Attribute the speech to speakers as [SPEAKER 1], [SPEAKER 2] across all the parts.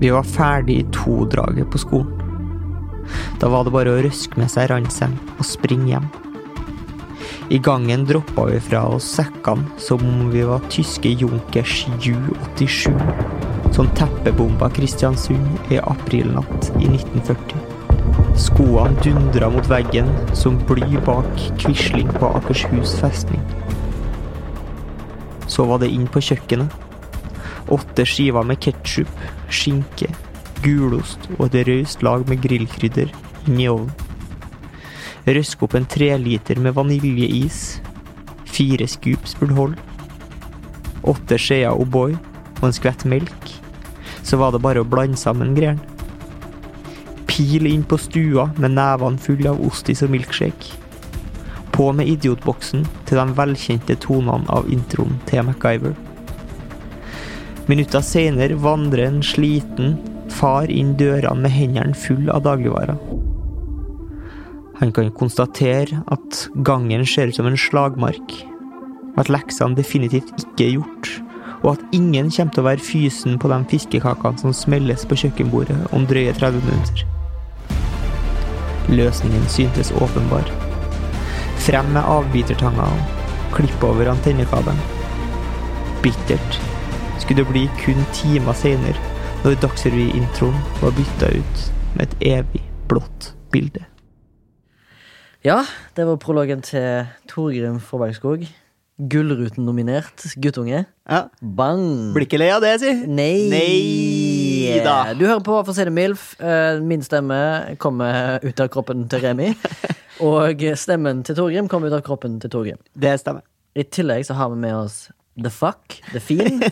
[SPEAKER 1] Vi var ferdig i to-draget på skolen. Da var det bare å røske med seg ranselen og springe hjem. I gangen droppa vi fra oss sekkene som om vi var tyske Junkers Ju-87, som teppebomba Kristiansund i aprilnatt i 1940. Skoene dundra mot veggen som bly bak Quisling på Akershus festning. Så var det inn på kjøkkenet. Åtte skiver med ketsjup, skinke, gulost og et raust lag med grillkrydder inn i ovnen. Røsk opp en treliter med vaniljeis. Fire scoops burde holde. Åtte skjeer O'boy og en skvett melk. Så var det bare å blande sammen greiene. Pil inn på stua med nevene fulle av ostis og milkshake. På med idiotboksen til de velkjente tonene av introen til MacGyver. Minutter senere vandrer en sliten far inn dørene med hendene full av dagligvarer. Han kan konstatere at gangen ser ut som en slagmark, at leksene definitivt ikke er gjort, og at ingen kommer til å være fysen på de fiskekakene som smelles på kjøkkenbordet om drøye 30 minutter. Løsningen syntes åpenbar. Frem med avbitertanga og klipp over antennekabelen. Bittert skulle det bli kun timer senere, når Dagsrevy-introen var bytta ut med et evig blått bilde.
[SPEAKER 2] Ja, det var prologen til Torgrim Forbergskog. Gullruten nominert. Guttunge.
[SPEAKER 1] Ja,
[SPEAKER 2] Bang!
[SPEAKER 1] Blir ikke lei av det, si.
[SPEAKER 2] Nei.
[SPEAKER 1] Nei da.
[SPEAKER 2] Du hører på For å si det milf. Eh, Min stemme kommer ut av kroppen til Remi. Og stemmen til Torgrim kommer ut av kroppen til Torgrim.
[SPEAKER 1] Det stemmer.
[SPEAKER 2] I tillegg så har vi med oss The Fuck, The Fiend,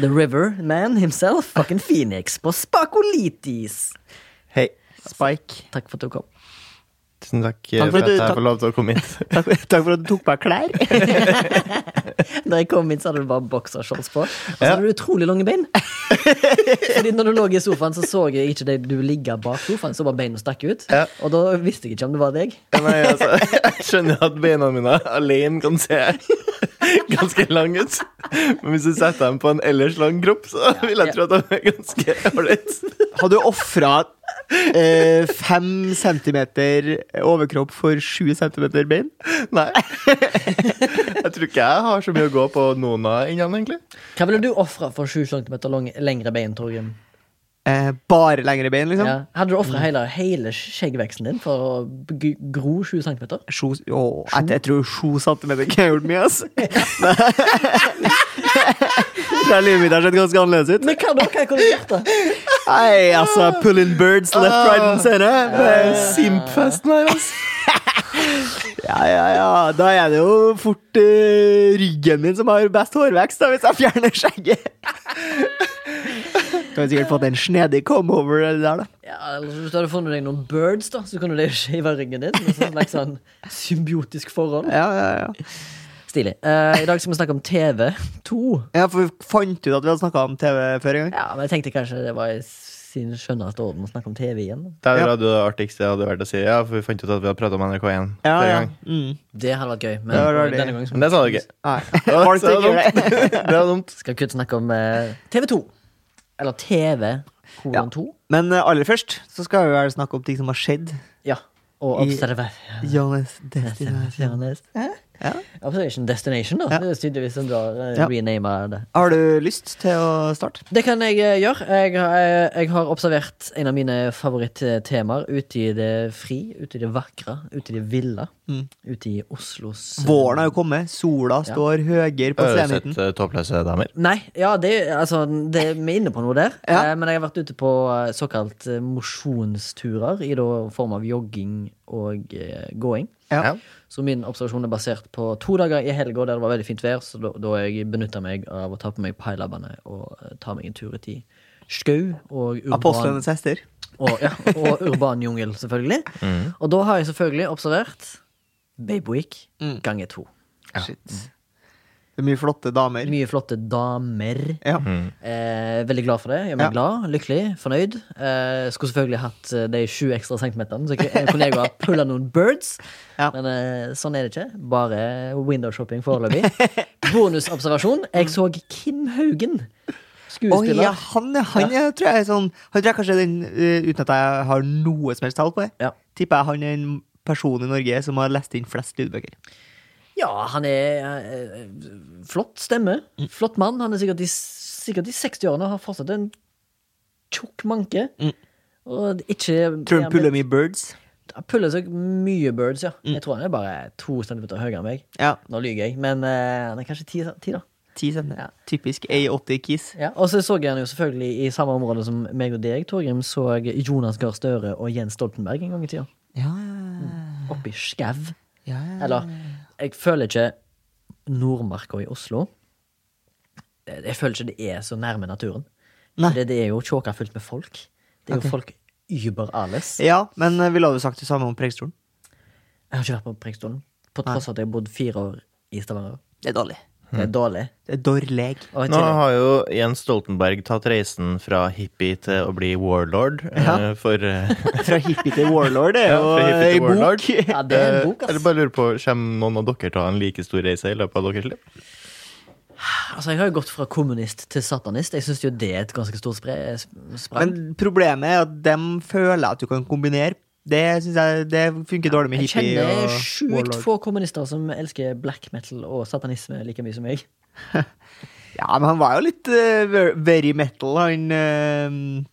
[SPEAKER 2] The River Man himself, fucking Phoenix på Spakolitis.
[SPEAKER 3] Hei.
[SPEAKER 1] Spike.
[SPEAKER 2] Takk for at du kom.
[SPEAKER 3] Tusen takk, eh,
[SPEAKER 1] Takk for
[SPEAKER 3] for
[SPEAKER 1] at
[SPEAKER 3] at
[SPEAKER 1] du-
[SPEAKER 3] jeg
[SPEAKER 1] takk-
[SPEAKER 3] får lov til å komme hit.
[SPEAKER 1] Takk, takk for at du tok på deg klær.
[SPEAKER 2] Da jeg kom inn, så hadde du bare boksershorts på. Og så hadde du utrolig lange bein. Fordi når du lå i sofaen, så så jeg ikke deg du ligger bak sofaen. Så bare beina stakk ut.
[SPEAKER 3] Ja.
[SPEAKER 2] Og da visste jeg ikke om det var deg.
[SPEAKER 3] Nei, altså, jeg skjønner at beina mine alene kan se ganske lange ut. Men hvis du setter dem på en ellers lang kropp, så vil jeg tro at de er ganske ålreit.
[SPEAKER 1] Hadde du ofra eh, fem centimeter overkropp for sju centimeter bein?
[SPEAKER 3] Nei. Jeg tror ikke jeg har så mye å gå på Nona igjen, egentlig.
[SPEAKER 2] Hva ville du ofra for 7 cm lang, lengre bein, Torgrim?
[SPEAKER 1] Eh, bare lengre bein, liksom?
[SPEAKER 2] Ja. Hadde du ofra hele, hele skjeggveksten din for å g- gro 7 cm?
[SPEAKER 1] Sjo, å, jeg, jeg tror sju centimeter kunne jeg gjort mye, ass. Nei. Livet mitt har sett ganske annerledes ut.
[SPEAKER 2] Men hva da? Hva kunne du gjort, da?
[SPEAKER 1] Hei, altså, pulling birds left, right and center.
[SPEAKER 3] Simpfesten her, altså.
[SPEAKER 1] Ja, ja, ja. Da er det jo fort eh, ryggen min som har best hårvekst, da, hvis jeg fjerner skjegget. Kan vi sikkert fått en snedig comeover eller der, da.
[SPEAKER 2] Ja, eller Hvis du hadde funnet deg noen birds, da, så kunne du shave ryggen din. Med sånn, slags sånn symbiotisk forhold.
[SPEAKER 1] Ja, ja, ja.
[SPEAKER 2] Stilig. Eh, I dag skal vi snakke om TV2.
[SPEAKER 1] ja, for vi fant ut at vi hadde snakka om TV før en gang.
[SPEAKER 2] Ja, men jeg tenkte kanskje det var i sin skjønneste orden å snakke om TV igjen.
[SPEAKER 3] Det
[SPEAKER 1] Ja.
[SPEAKER 3] hadde det artigste hadde vært å si. Ja, for vi fant ut at vi hadde pratet om NRK1
[SPEAKER 1] Ja,
[SPEAKER 3] forrige
[SPEAKER 1] ja.
[SPEAKER 3] gang.
[SPEAKER 1] Mm.
[SPEAKER 2] Det hadde vært gøy, men
[SPEAKER 1] Det var det.
[SPEAKER 2] denne gangen
[SPEAKER 3] Men det sa du ikke.
[SPEAKER 1] Nei.
[SPEAKER 3] Det var
[SPEAKER 1] Folk tenker det.
[SPEAKER 3] dumt. Det var dumt.
[SPEAKER 2] skal vi kun snakke om eh, TV2. Eller TV kolon
[SPEAKER 1] Ja.
[SPEAKER 2] 2.
[SPEAKER 1] Men eh, aller først så skal vi vel snakke om ting som har skjedd.
[SPEAKER 2] Ja. Og
[SPEAKER 1] I-
[SPEAKER 2] Observer...
[SPEAKER 1] Jonas Destination. Ja.
[SPEAKER 2] Observation Destination, da.
[SPEAKER 1] Ja.
[SPEAKER 2] Det er tydeligvis som du har eh,
[SPEAKER 1] Ja.
[SPEAKER 2] renamet det.
[SPEAKER 1] Har du lyst til å starte?
[SPEAKER 2] Det kan jeg eh, gjøre. Jeg, har- eh, jeg har observert en av mine favorittemaer ute i det fri, ute i det vakre, ute i det ville.
[SPEAKER 1] Mm.
[SPEAKER 2] Ute i Oslos eh,
[SPEAKER 1] Våren har jo kommet. Sola
[SPEAKER 2] Ja.
[SPEAKER 1] står høyere på
[SPEAKER 3] Øresett
[SPEAKER 1] senheten.
[SPEAKER 3] eh, toppløse damer.
[SPEAKER 2] Nei, ja, det, altså, det, vi er inne på noe der.
[SPEAKER 1] Ja.
[SPEAKER 2] Eh, men jeg har vært ute på eh, såkalt eh, mosjonsturer i da form av jogging og eh, gåing.
[SPEAKER 1] Ja.
[SPEAKER 2] Så min observasjon er basert på to dager i helga der det var veldig fint vær, så da, da jeg benytta meg av å ta på meg pailabbene og eh, ta meg en tur ut i skau og urban,
[SPEAKER 1] Apostlenes hester.
[SPEAKER 2] og, ja, og urban jungel, selvfølgelig. Og da har jeg selvfølgelig observert Babe Week
[SPEAKER 1] Mm.
[SPEAKER 2] ganger to.
[SPEAKER 1] Shit.
[SPEAKER 3] Mm.
[SPEAKER 1] Det er mye flotte damer.
[SPEAKER 2] Mye flotte damer.
[SPEAKER 1] Ja.
[SPEAKER 3] Mm.
[SPEAKER 2] Eh, veldig glad for det. Gjør meg
[SPEAKER 1] Ja.
[SPEAKER 2] glad, lykkelig, fornøyd. Eh, skulle selvfølgelig hatt eh, de sju ekstra centimeterne, så jeg kunne- kunne jeg ha pulla noen birds.
[SPEAKER 1] Ja.
[SPEAKER 2] Men eh, sånn er det ikke. Bare windowshopping foreløbig. Bonusobservasjon. Jeg så Kim Haugen,
[SPEAKER 1] Oi, ja,
[SPEAKER 2] skuespiller.
[SPEAKER 1] han, ja, han er- tror jeg er sånn Han tror jeg kanskje er den, eh, uten at jeg har noe som helst tall på det,
[SPEAKER 2] Ja.
[SPEAKER 1] tipper jeg han er den personen i Norge som har lest inn flest lydbøker.
[SPEAKER 2] Ja, han er eh, flott stemme. Flott mann. Han er sikkert i, sikkert i 60-årene og har fortsatt en tjukk manke. Og ikke
[SPEAKER 1] Mm. Tror han puller mye birds?
[SPEAKER 2] Han puller seg mye birds, ja. Jeg tror han er bare to centimeter høyere enn meg.
[SPEAKER 1] Ja.
[SPEAKER 2] Nå lyver jeg, men eh, han er kanskje ti, ti da.
[SPEAKER 1] Ti sender. Typisk A80-kis.
[SPEAKER 2] Ja. Og så så jeg han jo selvfølgelig i samme område som meg og deg, Torgrim, så jeg Jonas Gahr Støre og Jens Stoltenberg en gang i tida.
[SPEAKER 1] Ja,
[SPEAKER 2] Oppi skau.
[SPEAKER 1] ja,
[SPEAKER 2] Eller, jeg føler ikke Nordmarka i Oslo Jeg jeg føler ikke det er så nærme naturen.
[SPEAKER 1] Nei.
[SPEAKER 2] For Det, det er jo tjåka fullt med folk. Det er jo folk über alles.
[SPEAKER 1] ja, men eh, ville du sagt det samme om Preikestolen?
[SPEAKER 2] Jeg har ikke vært på Preikestolen, på tross av at jeg har bodd fire år i Stavanger.
[SPEAKER 1] Det er dårlig.
[SPEAKER 2] Det er dårlig.
[SPEAKER 1] Det er dårlig.
[SPEAKER 2] Og i
[SPEAKER 3] Nå
[SPEAKER 2] tillegg-
[SPEAKER 3] har jo Jens Stoltenberg tatt reisen fra hippie til å bli warlord. eh, For eh,
[SPEAKER 1] Fra hippie til warlord, det er
[SPEAKER 3] Ja,
[SPEAKER 1] jo
[SPEAKER 3] fra hippie
[SPEAKER 1] ei
[SPEAKER 3] til warlord.
[SPEAKER 1] bok.
[SPEAKER 2] ja, det er en bok,
[SPEAKER 3] eh,
[SPEAKER 2] ass.
[SPEAKER 3] Jeg bare lurer på, Kommer noen av dere til å ha en like stor reise i løpet av deres liv?
[SPEAKER 2] Altså, jeg har jo gått fra kommunist til satanist. Jeg syns jo det er et ganske stort spre sp- sprang.
[SPEAKER 1] Men problemet er at dem føler at du kan kombinere. Det synes jeg Det funker dårlig med
[SPEAKER 2] jeg
[SPEAKER 1] hippie
[SPEAKER 2] kjenner
[SPEAKER 1] og
[SPEAKER 2] sjukt
[SPEAKER 1] warlord.
[SPEAKER 2] få kommunister som elsker black metal og satanisme like mye som meg.
[SPEAKER 1] Ja, men han var jo litt eh, ver- very metal, han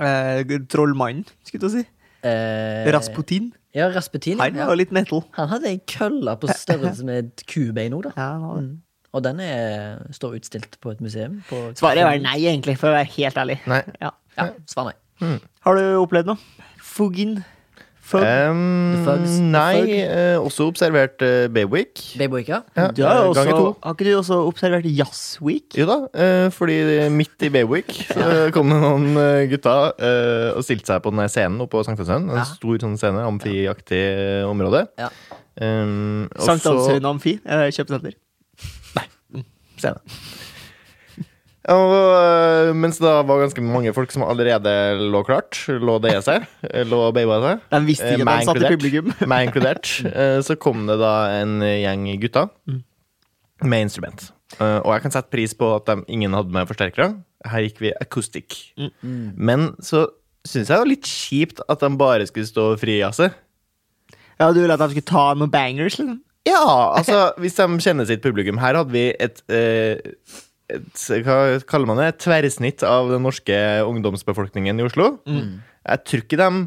[SPEAKER 1] eh, eh, trollmannen, skulle jeg til å si.
[SPEAKER 2] Eh,
[SPEAKER 1] Rasputin.
[SPEAKER 2] Ja, Rasputin.
[SPEAKER 1] Han
[SPEAKER 2] ja.
[SPEAKER 1] var jo litt metal.
[SPEAKER 2] Han hadde ei kølle på størrelse med et kubein òg, da.
[SPEAKER 1] Ja, han var det.
[SPEAKER 2] Og den er, står utstilt på et museum. På
[SPEAKER 1] Svaret var nei, egentlig, for å være helt ærlig.
[SPEAKER 3] Nei.
[SPEAKER 1] Ja.
[SPEAKER 2] Ja, svar nei.
[SPEAKER 1] Har du opplevd noe? Fugin? Fug?
[SPEAKER 3] Em,
[SPEAKER 2] The Fugs, The Fug.
[SPEAKER 3] nei, eh, også observert uh, Baywick.
[SPEAKER 2] Babyboika?
[SPEAKER 3] Ja,
[SPEAKER 1] Du har, jo
[SPEAKER 3] eh, ganger
[SPEAKER 1] også,
[SPEAKER 3] to.
[SPEAKER 1] har ikke du også observert Jazz Week?
[SPEAKER 3] Jo da, eh, fordi midt i Baywick så kom det noen eh, gutter eh, og stilte seg på den der scenen oppe på Sankthanshaugen. En stor sånn scene, amfiaktig eh, område.
[SPEAKER 2] Ja.
[SPEAKER 3] Em, og så-
[SPEAKER 1] Sankthanshaugen Amfi, eh, kjøpesenter.
[SPEAKER 3] Og øh, mens det da var ganske mange folk som allerede lå klart, lå det i seg, lå og baba seg,
[SPEAKER 1] De visste
[SPEAKER 3] eh,
[SPEAKER 1] ikke at
[SPEAKER 3] meg
[SPEAKER 1] han satt i
[SPEAKER 3] inkludert.
[SPEAKER 1] publikum.
[SPEAKER 3] meg inkludert, eh, så kom det da en gjeng gutter
[SPEAKER 1] Mm.
[SPEAKER 3] med instrument. Eh, Og jeg kan sette pris på at de, ingen hadde med forsterkere. Her gikk vi acoustic.
[SPEAKER 1] Mm.
[SPEAKER 3] Men så syns jeg det var litt kjipt at de bare skulle stå og frijazze.
[SPEAKER 1] Ja, du ville at de skulle ta noen bangers, liksom?
[SPEAKER 3] Ja, altså, hvis de kjenner sitt publikum. Her hadde vi et, eh, et Hva kaller man det? Et tverrsnitt av den norske ungdomsbefolkningen i Oslo. Jeg tror ikke dem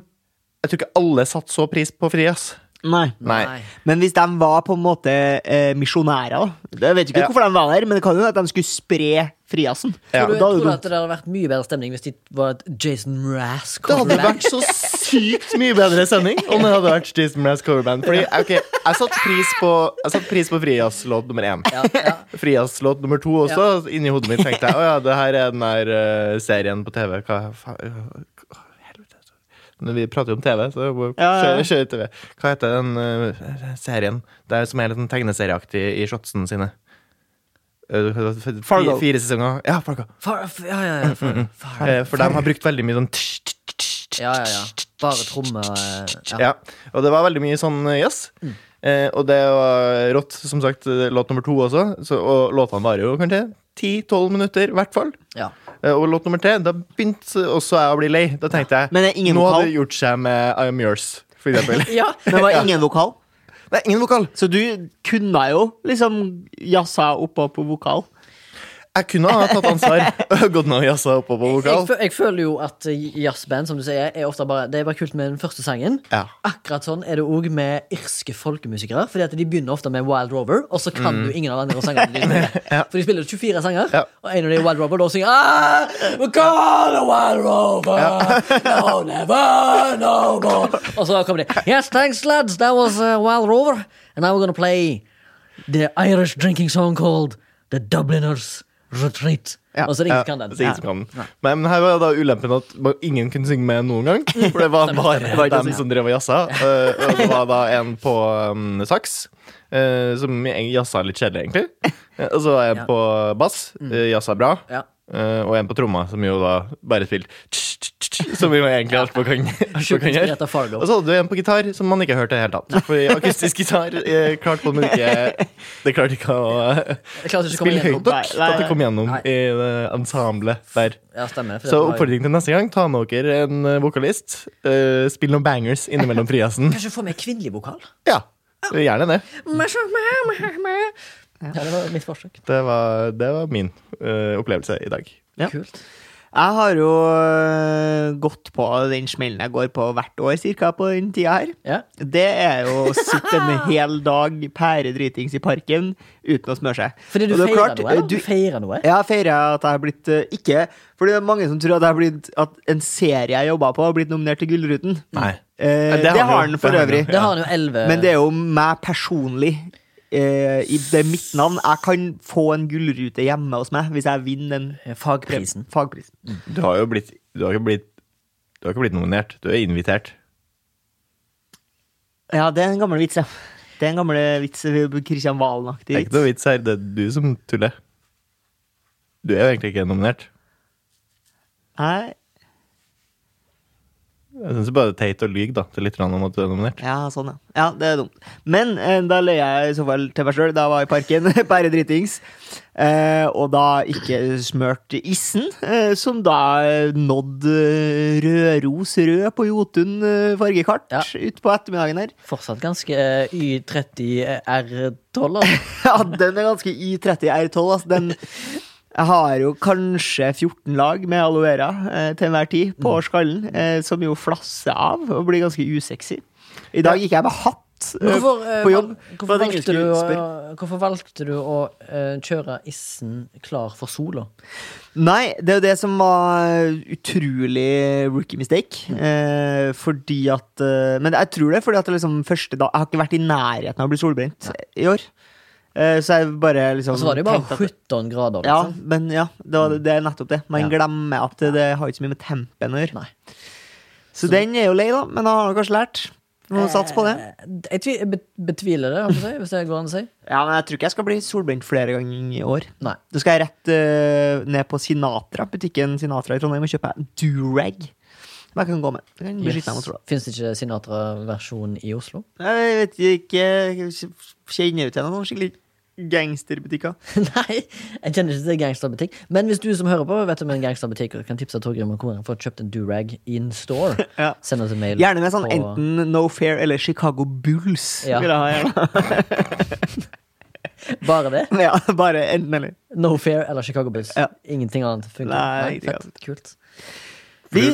[SPEAKER 3] Jeg tror ikke alle satte så pris på frijazz.
[SPEAKER 1] Nei.
[SPEAKER 3] Nei.
[SPEAKER 1] Men hvis de var på en måte eh, misjonærer, da Jeg vet ikke
[SPEAKER 3] Ja.
[SPEAKER 1] hvorfor de var der, men det kan jo være at de skulle spre friasen.
[SPEAKER 3] Ja.
[SPEAKER 2] Tror du,
[SPEAKER 1] Og da er
[SPEAKER 2] tror du
[SPEAKER 1] det
[SPEAKER 2] at det hadde vært mye bedre stemning hvis de var et Jason Mraz
[SPEAKER 3] Det hadde
[SPEAKER 2] coverband?
[SPEAKER 3] vært så sykt mye bedre sending om det hadde vært Jason Mraz coverband. Fordi, ok, jeg satte pris på Jeg satt pris på frijazzlåt nummer én.
[SPEAKER 2] Ja, ja.
[SPEAKER 3] Frijazzlåt nummer to også. Inni hodet mitt tenkte jeg å ja, det her er den der eh, serien på TV. Hva faen Helvete. Når vi prater jo om TV, så må vi
[SPEAKER 1] Ja, ja, ja.
[SPEAKER 3] kjøre, kjøre TV. Hva heter den eh, serien Det er som er litt sånn tegneserieaktig i shotsen sine? Eh, fi-
[SPEAKER 1] Fargo.
[SPEAKER 3] Fire sesonger. Ja, Fargo.
[SPEAKER 2] Far, ja, ja, ja.
[SPEAKER 1] Mm-hmm.
[SPEAKER 2] Far, far.
[SPEAKER 3] Eh, For de har brukt veldig mye sånn tsh, tsh, tsh, tsh,
[SPEAKER 2] ja, ja, ja. Bare tromme eh, ja.
[SPEAKER 3] ja. Og det var veldig mye sånn eh, jazz.
[SPEAKER 1] Mm.
[SPEAKER 3] Eh, og det var rått, som sagt, eh, låt nummer to også. Så, og låtene varer jo kanskje 10-12 minutter, i hvert fall.
[SPEAKER 2] Ja.
[SPEAKER 3] Eh, og låt nummer tre, da begynte også jeg å bli lei. Da tenkte jeg
[SPEAKER 1] Men det er ingen
[SPEAKER 3] nå
[SPEAKER 1] vokal.
[SPEAKER 3] hadde det gjort seg med I Am Yours, for eksempel.
[SPEAKER 2] ja.
[SPEAKER 1] Men det var ingen vokal.
[SPEAKER 3] det er ingen vokal.
[SPEAKER 1] Så du kunne jo liksom jazza oppå på vokal.
[SPEAKER 3] Jeg kunne ha tatt ansvar og gått ned og jazza oppå på
[SPEAKER 2] Jeg,
[SPEAKER 3] vokal.
[SPEAKER 2] fø- jeg føler jo at jazzband som du sier, er ofte bare, det er bare kult med den første sangen.
[SPEAKER 3] Ja.
[SPEAKER 2] Akkurat sånn er det òg med irske folkemusikere. Fordi at De begynner ofte med Wild Rover, og så kan du ingen av de andre sangene. de spiller. For de spiller 24 sanger,
[SPEAKER 3] Mm. Ja.
[SPEAKER 2] og en av de er Wild Rover. Da synger ah, we call a Wild Rover, no, never, no more. Og så kommer de Yes, thanks, lads, that was uh, Wild Rover. And now we're gonna play the Irish drinking song called The Dubliners Retreat.
[SPEAKER 1] Ja.
[SPEAKER 2] Og så er det ingen som kan den.
[SPEAKER 3] Så ingen som kan den. Men, men her var da ulempen at ba- ingen kunne synge med noen gang.
[SPEAKER 2] Mm.
[SPEAKER 3] For det var bare dem som drev og jazza. Eh, Og det var da en på um, saks, eh, som jazza litt kjedelig, egentlig. Eh, Og så var en på bass, eh, jazza bra.
[SPEAKER 2] Mm. Ja.
[SPEAKER 3] Eh, og en på tromma, som jo da bare spilte tss, tss, tss, Som vi jo egentlig alt på kan, alt på
[SPEAKER 2] Sjukt
[SPEAKER 3] kan
[SPEAKER 2] inspirert
[SPEAKER 3] gjøre.
[SPEAKER 2] av Fargo.
[SPEAKER 3] Og så hadde du en på gitar som man ikke hørte i det hele tatt. Fordi akustisk gitar eh, klarte man ikke Det klarte ikke å eh,
[SPEAKER 2] Jeg klarte ikke å komme
[SPEAKER 3] Spill høyt
[SPEAKER 2] igjennom.
[SPEAKER 1] Nei,
[SPEAKER 3] nok til
[SPEAKER 1] nei,
[SPEAKER 3] at det kom gjennom
[SPEAKER 2] nei.
[SPEAKER 3] i det ensemblet der.
[SPEAKER 2] Ja, stemmer. for
[SPEAKER 3] Så
[SPEAKER 2] det var-
[SPEAKER 3] oppfordring til neste gang, ta med dere en eh, vokalist. eh, spill noen bangers innimellom friheten.
[SPEAKER 2] Kanskje få med kvinnelig vokal?
[SPEAKER 3] Ja, gjerne det.
[SPEAKER 2] Ja, det var mitt forsøk.
[SPEAKER 3] Det var, det var min eh, opplevelse i dag.
[SPEAKER 1] Ja.
[SPEAKER 2] Kult.
[SPEAKER 1] Jeg har jo øh, gått på den smellen jeg går på hvert år, cirka, på den tida her.
[SPEAKER 2] Ja.
[SPEAKER 1] Det er jo å sitte en hel dag pæredritings i parken uten å smøre seg.
[SPEAKER 2] Fordi du
[SPEAKER 1] Og det er
[SPEAKER 2] feirer
[SPEAKER 1] klart,
[SPEAKER 2] noe? eller?
[SPEAKER 1] du-
[SPEAKER 2] Du feirer noe?
[SPEAKER 1] Jeg har feira at jeg har blitt eh, Ikke Fordi det er mange som tror at, jeg har blitt, at en serie jeg jobba på, har blitt nominert til Gullruten.
[SPEAKER 3] Nei.
[SPEAKER 1] Eh,
[SPEAKER 3] Ja, det
[SPEAKER 1] det,
[SPEAKER 3] har han jo.
[SPEAKER 1] har den for
[SPEAKER 3] Det har han jo.
[SPEAKER 1] øvrig.
[SPEAKER 2] Det har han jo elleve
[SPEAKER 1] Men det er jo meg personlig. Eh, i, det er mitt navn. Jeg kan få en gullrute hjemme hos meg hvis jeg vinner den
[SPEAKER 2] eh, Fagprisen.
[SPEAKER 1] fagprisen.
[SPEAKER 3] Du har jo blitt Du har ikke blitt, du har ikke blitt nominert. Du er invitert.
[SPEAKER 1] Ja, det er en gammel vits, ja. Det er en gammel vits. Kristian
[SPEAKER 3] Det
[SPEAKER 1] Valen-aktig
[SPEAKER 3] er ikke
[SPEAKER 1] vits.
[SPEAKER 3] noe vits her. Det er du som tuller. Du er jo egentlig ikke nominert.
[SPEAKER 1] Nei,
[SPEAKER 3] Jeg syns bare det er teit å lyge da, til litt grann om at du er nominert.
[SPEAKER 1] ja, sånn, ja. ja. Det er dumt. Men eh, da løy jeg i så fall til meg sjøl da jeg var i parken, bare dritings. Eh, og da ikke smurt issen, eh, som da eh, nådde eh, Røros Rød på Jotun eh, fargekart
[SPEAKER 2] Ja.
[SPEAKER 1] utpå ettermiddagen her.
[SPEAKER 2] Fortsatt ganske eh, Y30 eh, R12. altså.
[SPEAKER 1] Ja, den er ganske I30 R12. Altså. Den jeg har jo kanskje 14 lag med aloe vera eh, til enhver tid på
[SPEAKER 2] Mm.
[SPEAKER 1] skallen, eh, som jo flasser av og blir ganske usexy. I dag gikk jeg med hatt eh,
[SPEAKER 2] Hvorfor, eh,
[SPEAKER 1] på jobb.
[SPEAKER 2] val-
[SPEAKER 1] for
[SPEAKER 2] hvorfor,
[SPEAKER 1] at ingen
[SPEAKER 2] valgte du,
[SPEAKER 1] skulle
[SPEAKER 2] å-
[SPEAKER 1] spørre.
[SPEAKER 2] hvorfor valgte du å eh, kjøre issen klar for sola?
[SPEAKER 1] Nei, det er jo det som var utrolig rookie mistake. Eh, fordi at eh, Men jeg tror det er fordi at det liksom første dag Jeg har ikke vært i nærheten av å bli solbrent i år. Eh, så jeg bare liksom
[SPEAKER 2] Og så var det jo
[SPEAKER 1] tenkte
[SPEAKER 2] bare
[SPEAKER 1] at-
[SPEAKER 2] 17 grader.
[SPEAKER 1] Ja,
[SPEAKER 2] Liksom.
[SPEAKER 1] men ja, det, var, det er nettopp det. Man
[SPEAKER 2] Ja.
[SPEAKER 1] glemmer at det, det har ikke så mye med tempen å gjøre.
[SPEAKER 2] Nei.
[SPEAKER 1] Så den er jo lei, da, men jeg har kanskje lært. Må satse på det.
[SPEAKER 2] Eh, Jeg tvi- bet- betviler det, holdt jeg på å si, hvis det går an å si.
[SPEAKER 1] Ja, men jeg tror ikke jeg skal bli solbrent flere ganger i år.
[SPEAKER 2] Nei.
[SPEAKER 1] Da skal jeg rett eh, ned på Sinatra, butikken Sinatra i Trondheim og kjøpe durag. Hva jeg kan gå med. Jeg kan beskytte meg mot sola.
[SPEAKER 2] Fins det ikke Sinatra-versjon i Oslo?
[SPEAKER 1] Jeg vet ikke Kjenner jeg ut til noen skikkelig gangsterbutikker?
[SPEAKER 2] Nei, jeg kjenner ikke til gangsterbutikk. Men hvis du som hører på vet om en gangsterbutikk og kan tipse Torgrim om hvor han får kjøpt en durag in store,
[SPEAKER 1] Ja.
[SPEAKER 2] send oss en mail.
[SPEAKER 1] Gjerne med sånn
[SPEAKER 2] på-
[SPEAKER 1] enten No Fair eller Chicago Bulls.
[SPEAKER 2] Ja.
[SPEAKER 1] Vil jeg ha, gjerne.
[SPEAKER 2] Bare det?
[SPEAKER 1] ja, bare enten eller.
[SPEAKER 2] No Fair eller Chicago Bulls.
[SPEAKER 1] Ja.
[SPEAKER 2] Ingenting annet funker.
[SPEAKER 1] Nei, ingenting
[SPEAKER 2] fett. Kult.
[SPEAKER 1] Vi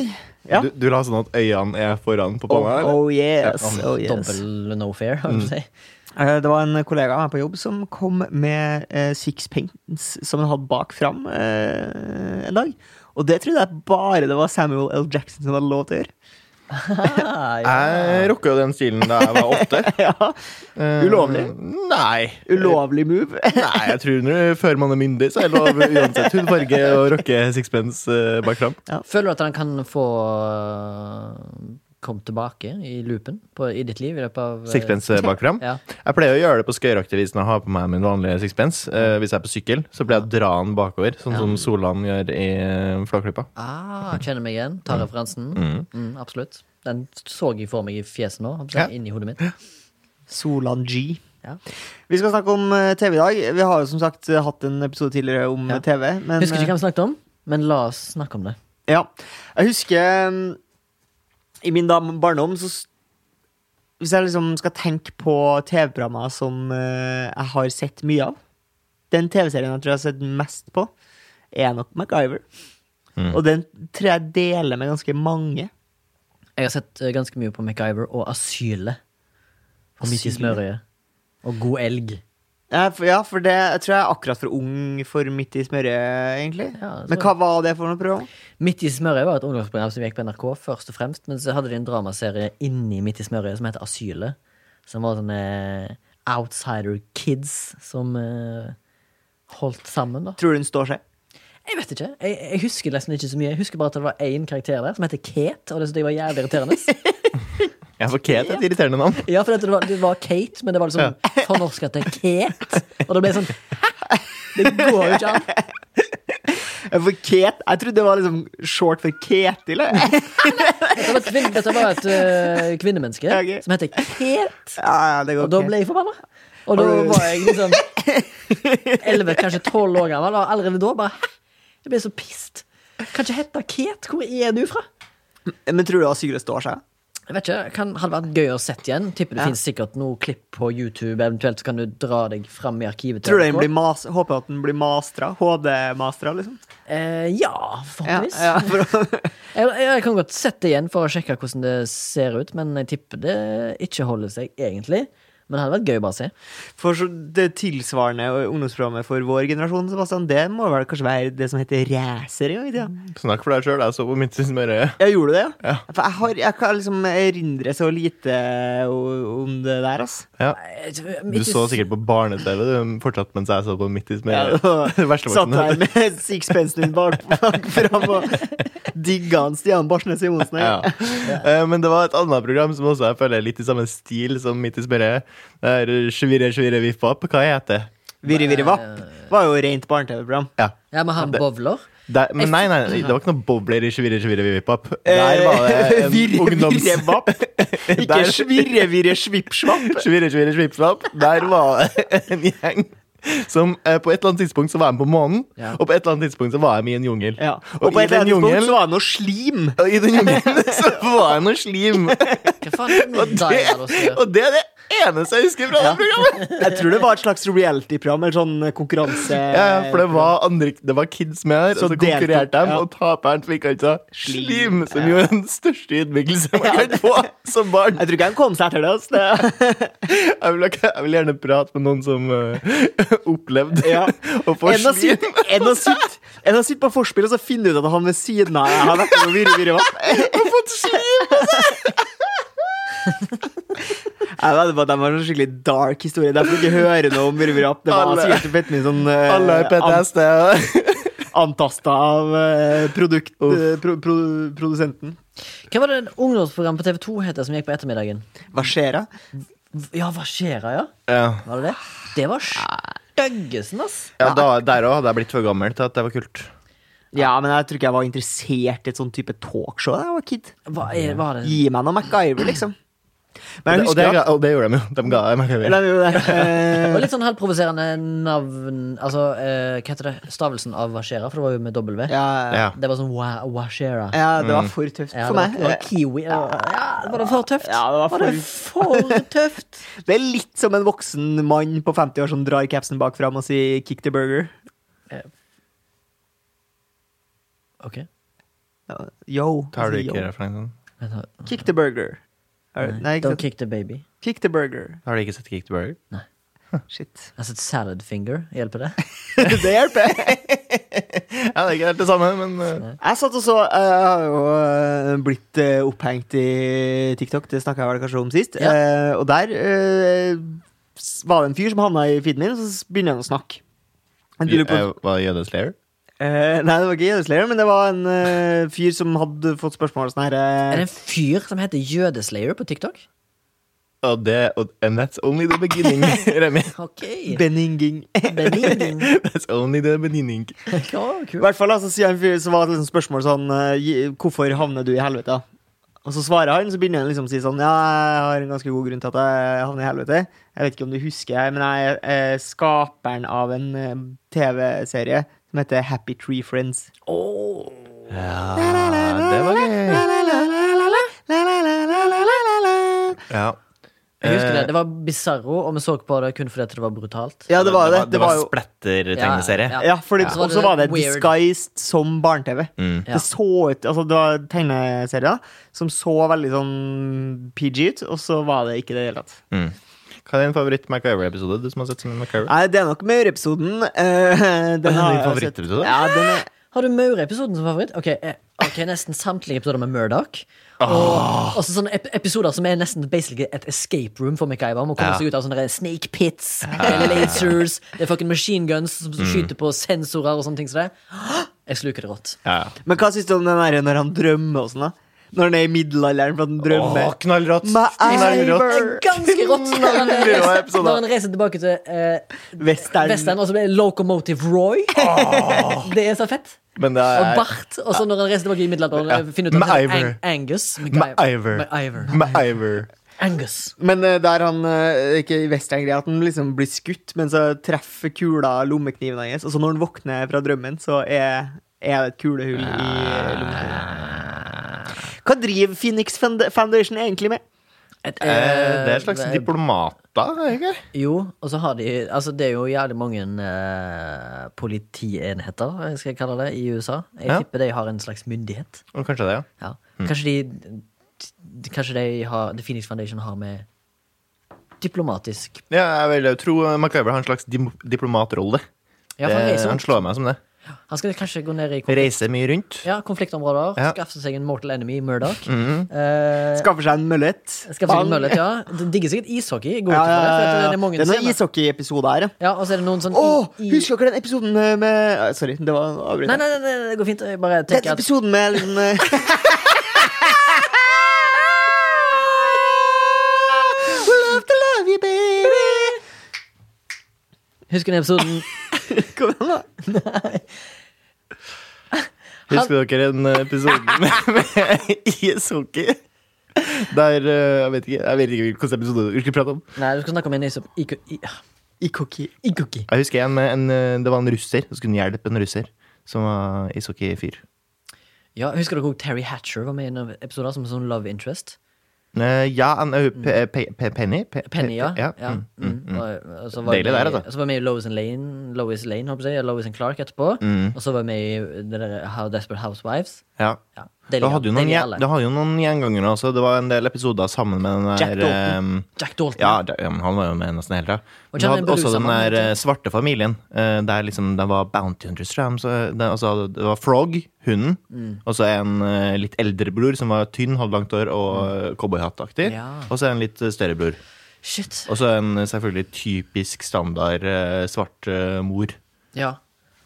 [SPEAKER 1] Ja.
[SPEAKER 3] Du, du la sånn at øynene er foran på panna?
[SPEAKER 1] Oh, oh
[SPEAKER 3] eller?
[SPEAKER 1] yes.
[SPEAKER 3] Ja,
[SPEAKER 1] Oh, yes.
[SPEAKER 2] Dobbel No Fair, har jeg på å si.
[SPEAKER 1] Eh, Det var en kollega av meg på jobb som kom med eh, sixpence som han hadde bak fram eh, en dag. Og det trodde jeg bare det var Samuel L. Jackson som hadde lov til å gjøre. Mm.
[SPEAKER 2] Ah, ja.
[SPEAKER 3] Jeg rocka jo den stilen da jeg var åtte.
[SPEAKER 1] ja,
[SPEAKER 3] Eh,
[SPEAKER 1] Ulovlig?
[SPEAKER 3] Nei.
[SPEAKER 1] Ulovlig move.
[SPEAKER 3] Nei, jeg tror når, før man er myndig, så er det lov uansett hudfarge å rocke sixpence eh, bak fram.
[SPEAKER 2] Føler du at han kan få øh, komme tilbake i loopen på, i ditt liv i løpet av øh,
[SPEAKER 3] Sixpence eh, bak fram.
[SPEAKER 2] Ja.
[SPEAKER 3] Jeg pleier å gjøre det på skøyeraktig vis når jeg har på meg min vanlige sixpence. Eh, hvis jeg er på sykkel, så pleier jeg å dra den bakover, sånn som Solan gjør i eh, Flåklypa.
[SPEAKER 2] Ah, kjenner meg igjen. Tar referansen. Mm, absolutt. Den så jeg for meg i fjeset nå.
[SPEAKER 3] Ja.
[SPEAKER 2] Inni hodet mitt.
[SPEAKER 1] Solan G.
[SPEAKER 2] Ja.
[SPEAKER 1] Vi skal snakke om eh, TV i dag. Vi har jo som sagt eh, hatt en episode tidligere om
[SPEAKER 2] Ja.
[SPEAKER 1] eh, TV. Men,
[SPEAKER 2] Husker ikke hva vi snakket om, men la oss snakke om det.
[SPEAKER 1] Ja. Jeg husker um, I min da barndom så s- Hvis jeg liksom skal tenke på uh, TV-programmer som eh, jeg har sett mye av Den TV-serien jeg tror jeg har sett mest på, er nok MacGyver. Og den tror jeg deler med ganske mange.
[SPEAKER 2] Jeg har sett eh, ganske mye på MacGyver og Asylet. Og Midt i
[SPEAKER 1] Asylet?
[SPEAKER 2] smørøyet. Og God elg.
[SPEAKER 1] Ja, for, ja, for det jeg tror jeg er akkurat for ung for midt i smørøyet, egentlig.
[SPEAKER 2] Ja, så-
[SPEAKER 1] Men hva var det for noe program?
[SPEAKER 2] Midt i smørøyet var et ungdomsprogram som gikk på NRK, først og fremst, men så hadde de en dramaserie inni Midt i smørøyet som het Asylet. Som var sånne eh, outsider kids som eh, holdt sammen, da.
[SPEAKER 1] Tror du den står seg?
[SPEAKER 2] Jeg vet ikke. Jeg, jeg husker nesten ikke så mye. Jeg husker bare at det var én karakter der som het Kate, og det syntes jeg var jævlig irriterende.
[SPEAKER 3] Ja, for Kate er et irriterende navn.
[SPEAKER 2] Ja, for det var, det var Kate, men det var liksom fornorska til Kate. Og det ble sånn hæ? Det går jo ikke an.
[SPEAKER 1] Ja, Eh, For Kate, Jeg trodde det var liksom short for Ketil. jeg.
[SPEAKER 2] Dette var et, kvinn, dette var et øh, kvinnemenneske
[SPEAKER 1] Ja, ok.
[SPEAKER 2] som heter Kate.
[SPEAKER 1] Ja, ja, det går
[SPEAKER 2] Og da
[SPEAKER 1] ok.
[SPEAKER 2] ble jeg forbanna. Og da
[SPEAKER 1] Har du-
[SPEAKER 2] var jeg liksom 11, kanskje 12 år gammel, og allerede da bare hæ? Jeg ble så pissed. Kan ikke hete Kate. Hvor er du fra?
[SPEAKER 1] Men tror du Asylet står seg?
[SPEAKER 2] Jeg vet ikke, kan, Hadde vært gøy å sett igjen. Tipper det
[SPEAKER 1] Ja.
[SPEAKER 2] finnes sikkert noe klipp på YouTube. Eventuelt så kan du dra deg fram i arkivet. til
[SPEAKER 1] Tror du den
[SPEAKER 2] NRK.
[SPEAKER 1] blir mas Håper at den blir mastra? HD-mastra, liksom?
[SPEAKER 2] eh, ja, forhåpentligvis.
[SPEAKER 1] Ja, ja, for,
[SPEAKER 2] Jeg, jeg kan godt sette det igjen for å sjekke hvordan det ser ut, men jeg tipper det ikke holder seg, egentlig. Men det hadde vært gøy bare å se.
[SPEAKER 1] for så det tilsvarende ungdomsprogrammet for vår generasjon, Sebastian, det må vel kanskje være det som heter racer? i tida?
[SPEAKER 3] Snakk for deg sjøl. Jeg så på Midt i smørøyet.
[SPEAKER 1] Ja, gjorde du det? Ja. For jeg, har, jeg kan liksom erindre så lite o- om det der, ass.
[SPEAKER 3] Ja.
[SPEAKER 2] Jeg tror-
[SPEAKER 3] Du
[SPEAKER 2] ikke-
[SPEAKER 3] så sikkert på barne-TV du, fortsatt mens jeg så på Midt i
[SPEAKER 1] Ja,
[SPEAKER 3] smørøyet.
[SPEAKER 1] og
[SPEAKER 3] Det verste var sånn.
[SPEAKER 1] Satt
[SPEAKER 3] ikke noe.
[SPEAKER 1] der med sixpensen din bak, bak fram og digga han Stian Barsnes Johnsen.
[SPEAKER 3] Ja.
[SPEAKER 1] her.
[SPEAKER 3] Eh, Men det var et annet program som også jeg føler er litt i samme stil som Midt i smørøyet. Det er Svirre, svirre, vipp opp. Hva heter det?
[SPEAKER 1] Virre Virre Vapp var jo rent barne-TV-program.
[SPEAKER 3] Ja.
[SPEAKER 2] Ja, men han bowler.
[SPEAKER 3] Der, men nei, nei, det var ikke noen bobler i Svirre, svirre, vipp opp. Der var
[SPEAKER 1] Eh,
[SPEAKER 3] det en
[SPEAKER 1] virre,
[SPEAKER 3] ungdoms...
[SPEAKER 1] virre, vapp. Ikke
[SPEAKER 3] Der-
[SPEAKER 1] svirre, virre, svipp, svapp.
[SPEAKER 3] Svirre, svirre, svipp, svapp. Der var det en gjeng som eh, på et eller annet tidspunkt så var de på månen,
[SPEAKER 2] Ja.
[SPEAKER 3] og på et eller annet tidspunkt så var de i en jungel.
[SPEAKER 1] Ja. Og, på
[SPEAKER 3] i
[SPEAKER 1] et eller
[SPEAKER 3] den
[SPEAKER 1] annet
[SPEAKER 3] jungel-
[SPEAKER 1] punkt så var det noe slim.
[SPEAKER 3] og i den jungelen så var det noe slim.
[SPEAKER 2] Hva faen er det med Daidalos
[SPEAKER 3] Det,
[SPEAKER 2] gjør?
[SPEAKER 3] og det er det eneste jeg husker fra det programmet.
[SPEAKER 1] Jeg tror det var et slags reality-program, eller sånn konkurranse...
[SPEAKER 3] Ja, ja, for det var, andre, det var kids med
[SPEAKER 1] Eh,
[SPEAKER 3] her,
[SPEAKER 1] Så
[SPEAKER 3] og så
[SPEAKER 1] deltok-
[SPEAKER 3] konkurrerte de,
[SPEAKER 1] ja.
[SPEAKER 3] og taperen fikk altså
[SPEAKER 1] Slim.
[SPEAKER 3] slim, som jo er den største ydmykelse man kan få som barn.
[SPEAKER 1] Jeg tror ikke han kom seg etter det, ass. Det-
[SPEAKER 3] Jeg vil, ikke- jeg vil gjerne prate med noen som eh, opplevde
[SPEAKER 1] Ja.
[SPEAKER 3] å få
[SPEAKER 1] En har
[SPEAKER 3] slim.
[SPEAKER 1] sitt, en har sitt, en har sitt på forspill, og så finner du ut at han ved siden av har vært med og virre, virre, vapp. Jeg vet bare, at de har en skikkelig dark historie. Derfor du ikke hører noe om virre, virre, vapp. Det var
[SPEAKER 3] Alle-
[SPEAKER 1] sikkert fett mye sånn... eh,
[SPEAKER 3] Alle har PTSD.
[SPEAKER 1] an- Antasta av eh, produkt, eh, pro, pro, produsenten.
[SPEAKER 2] Hva var det ungdomsprogram på TV2 het det som gikk på ettermiddagen?
[SPEAKER 1] Hva skjer da?
[SPEAKER 2] Ja, hva skjer da, ja?
[SPEAKER 3] Ja.
[SPEAKER 2] Var det det? Det var styggesen, ass.
[SPEAKER 3] Ja, da, der òg hadde jeg blitt for gammel til at det var kult.
[SPEAKER 1] Ja, men jeg tror ikke jeg var interessert i et sånn type talkshow da jeg var kid.
[SPEAKER 2] Hva er, var det?
[SPEAKER 1] Gi meg noe MacGyver, liksom. Men jeg
[SPEAKER 3] Og det,
[SPEAKER 1] husker at
[SPEAKER 3] ga- og det gjorde de jo. De ga meg
[SPEAKER 1] Eller, det er jo det,
[SPEAKER 2] Det var
[SPEAKER 1] eh,
[SPEAKER 2] litt sånn halvprovoserende navn Altså, eh, hva heter det? Stavelsen av Washera, for det var jo med W.
[SPEAKER 1] ja, ja.
[SPEAKER 3] Ja.
[SPEAKER 2] Det var sånn wa- Washera.
[SPEAKER 1] ja, det var for tøft
[SPEAKER 2] Ja,
[SPEAKER 1] for meg.
[SPEAKER 2] Det var, det var kiwi. Ja, var det for tøft?
[SPEAKER 1] Ja, det var
[SPEAKER 2] det for tøft?
[SPEAKER 1] Det er litt som en voksen mann på 50 år som drar capsen bak fram og sier 'kick the burger'.
[SPEAKER 2] Eh, Ok.
[SPEAKER 1] Ja, Yo.
[SPEAKER 3] Tar du
[SPEAKER 1] sier
[SPEAKER 3] ikke
[SPEAKER 1] yo.
[SPEAKER 3] referansen?
[SPEAKER 2] Vent da.
[SPEAKER 1] Kick the burger. Er- Nei, ikke
[SPEAKER 2] Don't
[SPEAKER 1] sant?
[SPEAKER 2] kick the baby.
[SPEAKER 1] Kick the burger.
[SPEAKER 3] Har du ikke sett Geek the Burger?
[SPEAKER 1] Shit.
[SPEAKER 2] Altså et salad finger. Hjelper det?
[SPEAKER 1] det hjelper.
[SPEAKER 3] Ja, det er ikke helt det samme, men eh,
[SPEAKER 1] Jeg satt og så eh, Jeg har jo eh, blitt eh, opphengt i TikTok, det snakka jeg vel kanskje om sist.
[SPEAKER 2] Ja.
[SPEAKER 1] Eh, og der eh, s- var det en fyr som havna i feeden min, og så begynner han å snakke. Jeg lurer på-
[SPEAKER 3] eh, Var det Jødeslayer?
[SPEAKER 1] Eh, nei, det var ikke jødeslayer, men det var en eh, fyr som hadde fått spørsmål sånn her eh,
[SPEAKER 2] Er det en fyr som heter Jødeslayer på TikTok?
[SPEAKER 3] Og det og, And that's only the beginning, Remi.
[SPEAKER 2] Ok.
[SPEAKER 1] Beninging.
[SPEAKER 2] Benigning.
[SPEAKER 3] That's only the beginning.
[SPEAKER 2] Ja,
[SPEAKER 1] I
[SPEAKER 2] kult.
[SPEAKER 1] hvert fall altså, sier han fyr, så var det liksom spørsmål sånn eh, gi- Hvorfor havner du i helvete? Og så svarer han, så begynner han liksom å si sånn Ja, jeg har en ganske god grunn til at jeg havner i helvete. Jeg vet ikke om du husker, men jeg er eh, skaperen av en eh, TV-serie som heter Happy Tree Friends.
[SPEAKER 3] Ja, det var gøy.
[SPEAKER 1] La, la, la, la, la, la, la, la, la, la, la, la.
[SPEAKER 3] Ja. Eh,
[SPEAKER 2] Jeg husker det. Det var Bizarro, og vi så på det kun fordi at det var brutalt.
[SPEAKER 1] Ja, det var jo det.
[SPEAKER 3] Det
[SPEAKER 1] Det
[SPEAKER 3] var
[SPEAKER 1] var jo
[SPEAKER 3] splatter-tegneserie.
[SPEAKER 2] Ja,
[SPEAKER 1] ja, fordi,
[SPEAKER 2] Ja.
[SPEAKER 1] Og så var det
[SPEAKER 2] Weird.
[SPEAKER 1] disguised som barne-TV.
[SPEAKER 3] Mm.
[SPEAKER 2] Ja.
[SPEAKER 1] Det så ut, altså det var tegneserier som så veldig sånn PG ut, og så var det ikke det i det hele tatt.
[SPEAKER 3] Mm. Hva er din favoritt-MacGyver-episode? Du som har sett så mye MacGyver?
[SPEAKER 2] Ah.
[SPEAKER 1] Nei, det er nok Maur-episoden. Uh,
[SPEAKER 3] Din
[SPEAKER 1] den har jeg sett.
[SPEAKER 3] favorittepisode?
[SPEAKER 1] Ja, den er
[SPEAKER 2] Har du Maur-episoden som favoritt? Ok, eh, ok, Nesten samtlige episoder med Murdoch. Og også sånne ep episoder som er nesten basically et escape room for MacGyver. Må komme
[SPEAKER 3] Ja.
[SPEAKER 2] seg ut av sånne der snake pits, det er lasers, det er fucking machine guns som skyter på sensorer og sånne ting som det. Jeg sluker det rått.
[SPEAKER 3] Ja.
[SPEAKER 1] Men hva syns du om den der når han drømmer og sånn, da? Når han er i middelalderen for at han drømmer.
[SPEAKER 3] Åh, knallrått!
[SPEAKER 1] Knallrått.
[SPEAKER 2] Det er ganske rått når han
[SPEAKER 3] Veldig rå
[SPEAKER 2] reiser,
[SPEAKER 3] episode.
[SPEAKER 2] når han reiser tilbake til eh,
[SPEAKER 1] Western.
[SPEAKER 2] Western, og så blir det Locomotive Roy. Det er så fett.
[SPEAKER 3] Men det
[SPEAKER 2] Og
[SPEAKER 3] er
[SPEAKER 2] bart. Og så når han reiser tilbake i middelalderen, eh, finner ut at han heter
[SPEAKER 3] MacIver.
[SPEAKER 2] Ang Angus.
[SPEAKER 3] MacIver.
[SPEAKER 2] MacIver.
[SPEAKER 3] MacGyver.
[SPEAKER 2] Angus. Men
[SPEAKER 1] Men eh, der han eh, ikke i Western-greia, at han liksom blir skutt, men så treffer kula lommekniven hans, og så når han våkner fra drømmen, så er, er det et kulehull i lommekniven. Hva driver Phoenix Found- Foundation egentlig med?
[SPEAKER 2] et,
[SPEAKER 3] Eh, det er en slags
[SPEAKER 2] eh,
[SPEAKER 3] diplomater, egentlig.
[SPEAKER 2] Jo, og så har de Altså, det er jo jævlig mange eh, politienheter, skal jeg kalle det, i USA. Jeg
[SPEAKER 3] Ja.
[SPEAKER 2] tipper de har en slags myndighet.
[SPEAKER 3] Og Kanskje det, ja.
[SPEAKER 2] Ja. Kanskje de de- Kanskje de har The Phoenix Foundation har med diplomatisk
[SPEAKER 3] ja jeg vil jo tro eh, MacGyver har en slags dim diplomatrolle.
[SPEAKER 2] Ja, for han
[SPEAKER 3] Det-
[SPEAKER 2] reiser
[SPEAKER 3] han
[SPEAKER 2] rundt.
[SPEAKER 3] slår meg som det.
[SPEAKER 2] Han skal kanskje gå ned i konflikt,
[SPEAKER 3] Reiser mye rundt.
[SPEAKER 2] ja, konfliktområder,
[SPEAKER 3] Ja.
[SPEAKER 2] skaffe seg en mortal enemy, Murdoch. Eh,
[SPEAKER 1] Skaffer seg en møllet.
[SPEAKER 2] Skaffe seg
[SPEAKER 1] Bang.
[SPEAKER 2] en møllet, ja. Det digger sikkert ishockey. Jeg Går
[SPEAKER 1] Ja,
[SPEAKER 2] ut
[SPEAKER 1] ja,
[SPEAKER 2] ifra det, for at det
[SPEAKER 1] ja, ja.
[SPEAKER 2] er mange
[SPEAKER 1] Det er noen
[SPEAKER 2] scener.
[SPEAKER 1] ishockey-episode her, ja.
[SPEAKER 2] Ja, og så er det noen sånn
[SPEAKER 1] Å,
[SPEAKER 2] i- i-
[SPEAKER 1] husker dere den episoden eh, med ah, Sorry, det var avbrytet.
[SPEAKER 2] Nei, nei, nei, nei, det går fint. Jeg bare
[SPEAKER 1] Den
[SPEAKER 2] tenker at
[SPEAKER 1] episoden med den eh, We
[SPEAKER 3] Ah!
[SPEAKER 1] love to love you, baby.
[SPEAKER 2] Husker du den episoden
[SPEAKER 1] Kom igjen, da.
[SPEAKER 3] Husker dere en episode med, med ishockey? Der eh, Jeg vet ikke Jeg vet ikke hvilken episode du skulle prate om.
[SPEAKER 2] Nei, du skal snakke om en iso- iko- i-
[SPEAKER 1] Ikoki.
[SPEAKER 2] Ikoki.
[SPEAKER 3] Jeg husker en med en eh, Det var en russer. Så skulle han hjelpe en russer som var ishockey-fyr.
[SPEAKER 2] Ja, Husker dere også Terry Hatcher var med i en episode som sånn love interest?
[SPEAKER 3] Eh, ja, en eh, pe, pe, pe, Penny? Pe,
[SPEAKER 2] Mm. Penny, ja.
[SPEAKER 3] pe- ja.
[SPEAKER 2] Ja,
[SPEAKER 3] Mm.
[SPEAKER 2] mm, og- og så var
[SPEAKER 3] Deilig
[SPEAKER 2] jeg med,
[SPEAKER 3] der, altså.
[SPEAKER 2] Så var jeg med i Lois and Lane, Lois Lane, håper jeg, Lois and Clark etterpå.
[SPEAKER 3] Mm,
[SPEAKER 2] Og så var jeg med i det der How Desperate Housewives.
[SPEAKER 3] ja.
[SPEAKER 2] Ja,
[SPEAKER 3] Da hadde jo noen,
[SPEAKER 2] deilig
[SPEAKER 3] gjen-
[SPEAKER 2] alle.
[SPEAKER 3] da hadde jo noen gjengangere også. Det var en del episoder sammen med
[SPEAKER 1] Jack
[SPEAKER 3] den der
[SPEAKER 1] Dalton.
[SPEAKER 3] eh,
[SPEAKER 2] Jack Dalton.
[SPEAKER 3] Ja, da- ja, men han var jo med nesten hele tida.
[SPEAKER 2] Og
[SPEAKER 3] Men
[SPEAKER 2] Charlie
[SPEAKER 3] hadde også
[SPEAKER 2] Belusa
[SPEAKER 3] den
[SPEAKER 2] var med,
[SPEAKER 3] der
[SPEAKER 2] ikke
[SPEAKER 3] eh, svarte familien, eh, der liksom det var Bounty Hunters, tror jeg. Så det, altså, det var Frog, hunden,
[SPEAKER 2] Mm.
[SPEAKER 3] og så en eh, litt eldre bror som var tynn, hadde langt hår og eh, cowboyhattaktig.
[SPEAKER 2] Mm. Ja.
[SPEAKER 3] Og så en litt eh, større bror.
[SPEAKER 2] Shit.
[SPEAKER 3] Og så en eh, selvfølgelig typisk standard eh, svart eh, mor.
[SPEAKER 2] Ja.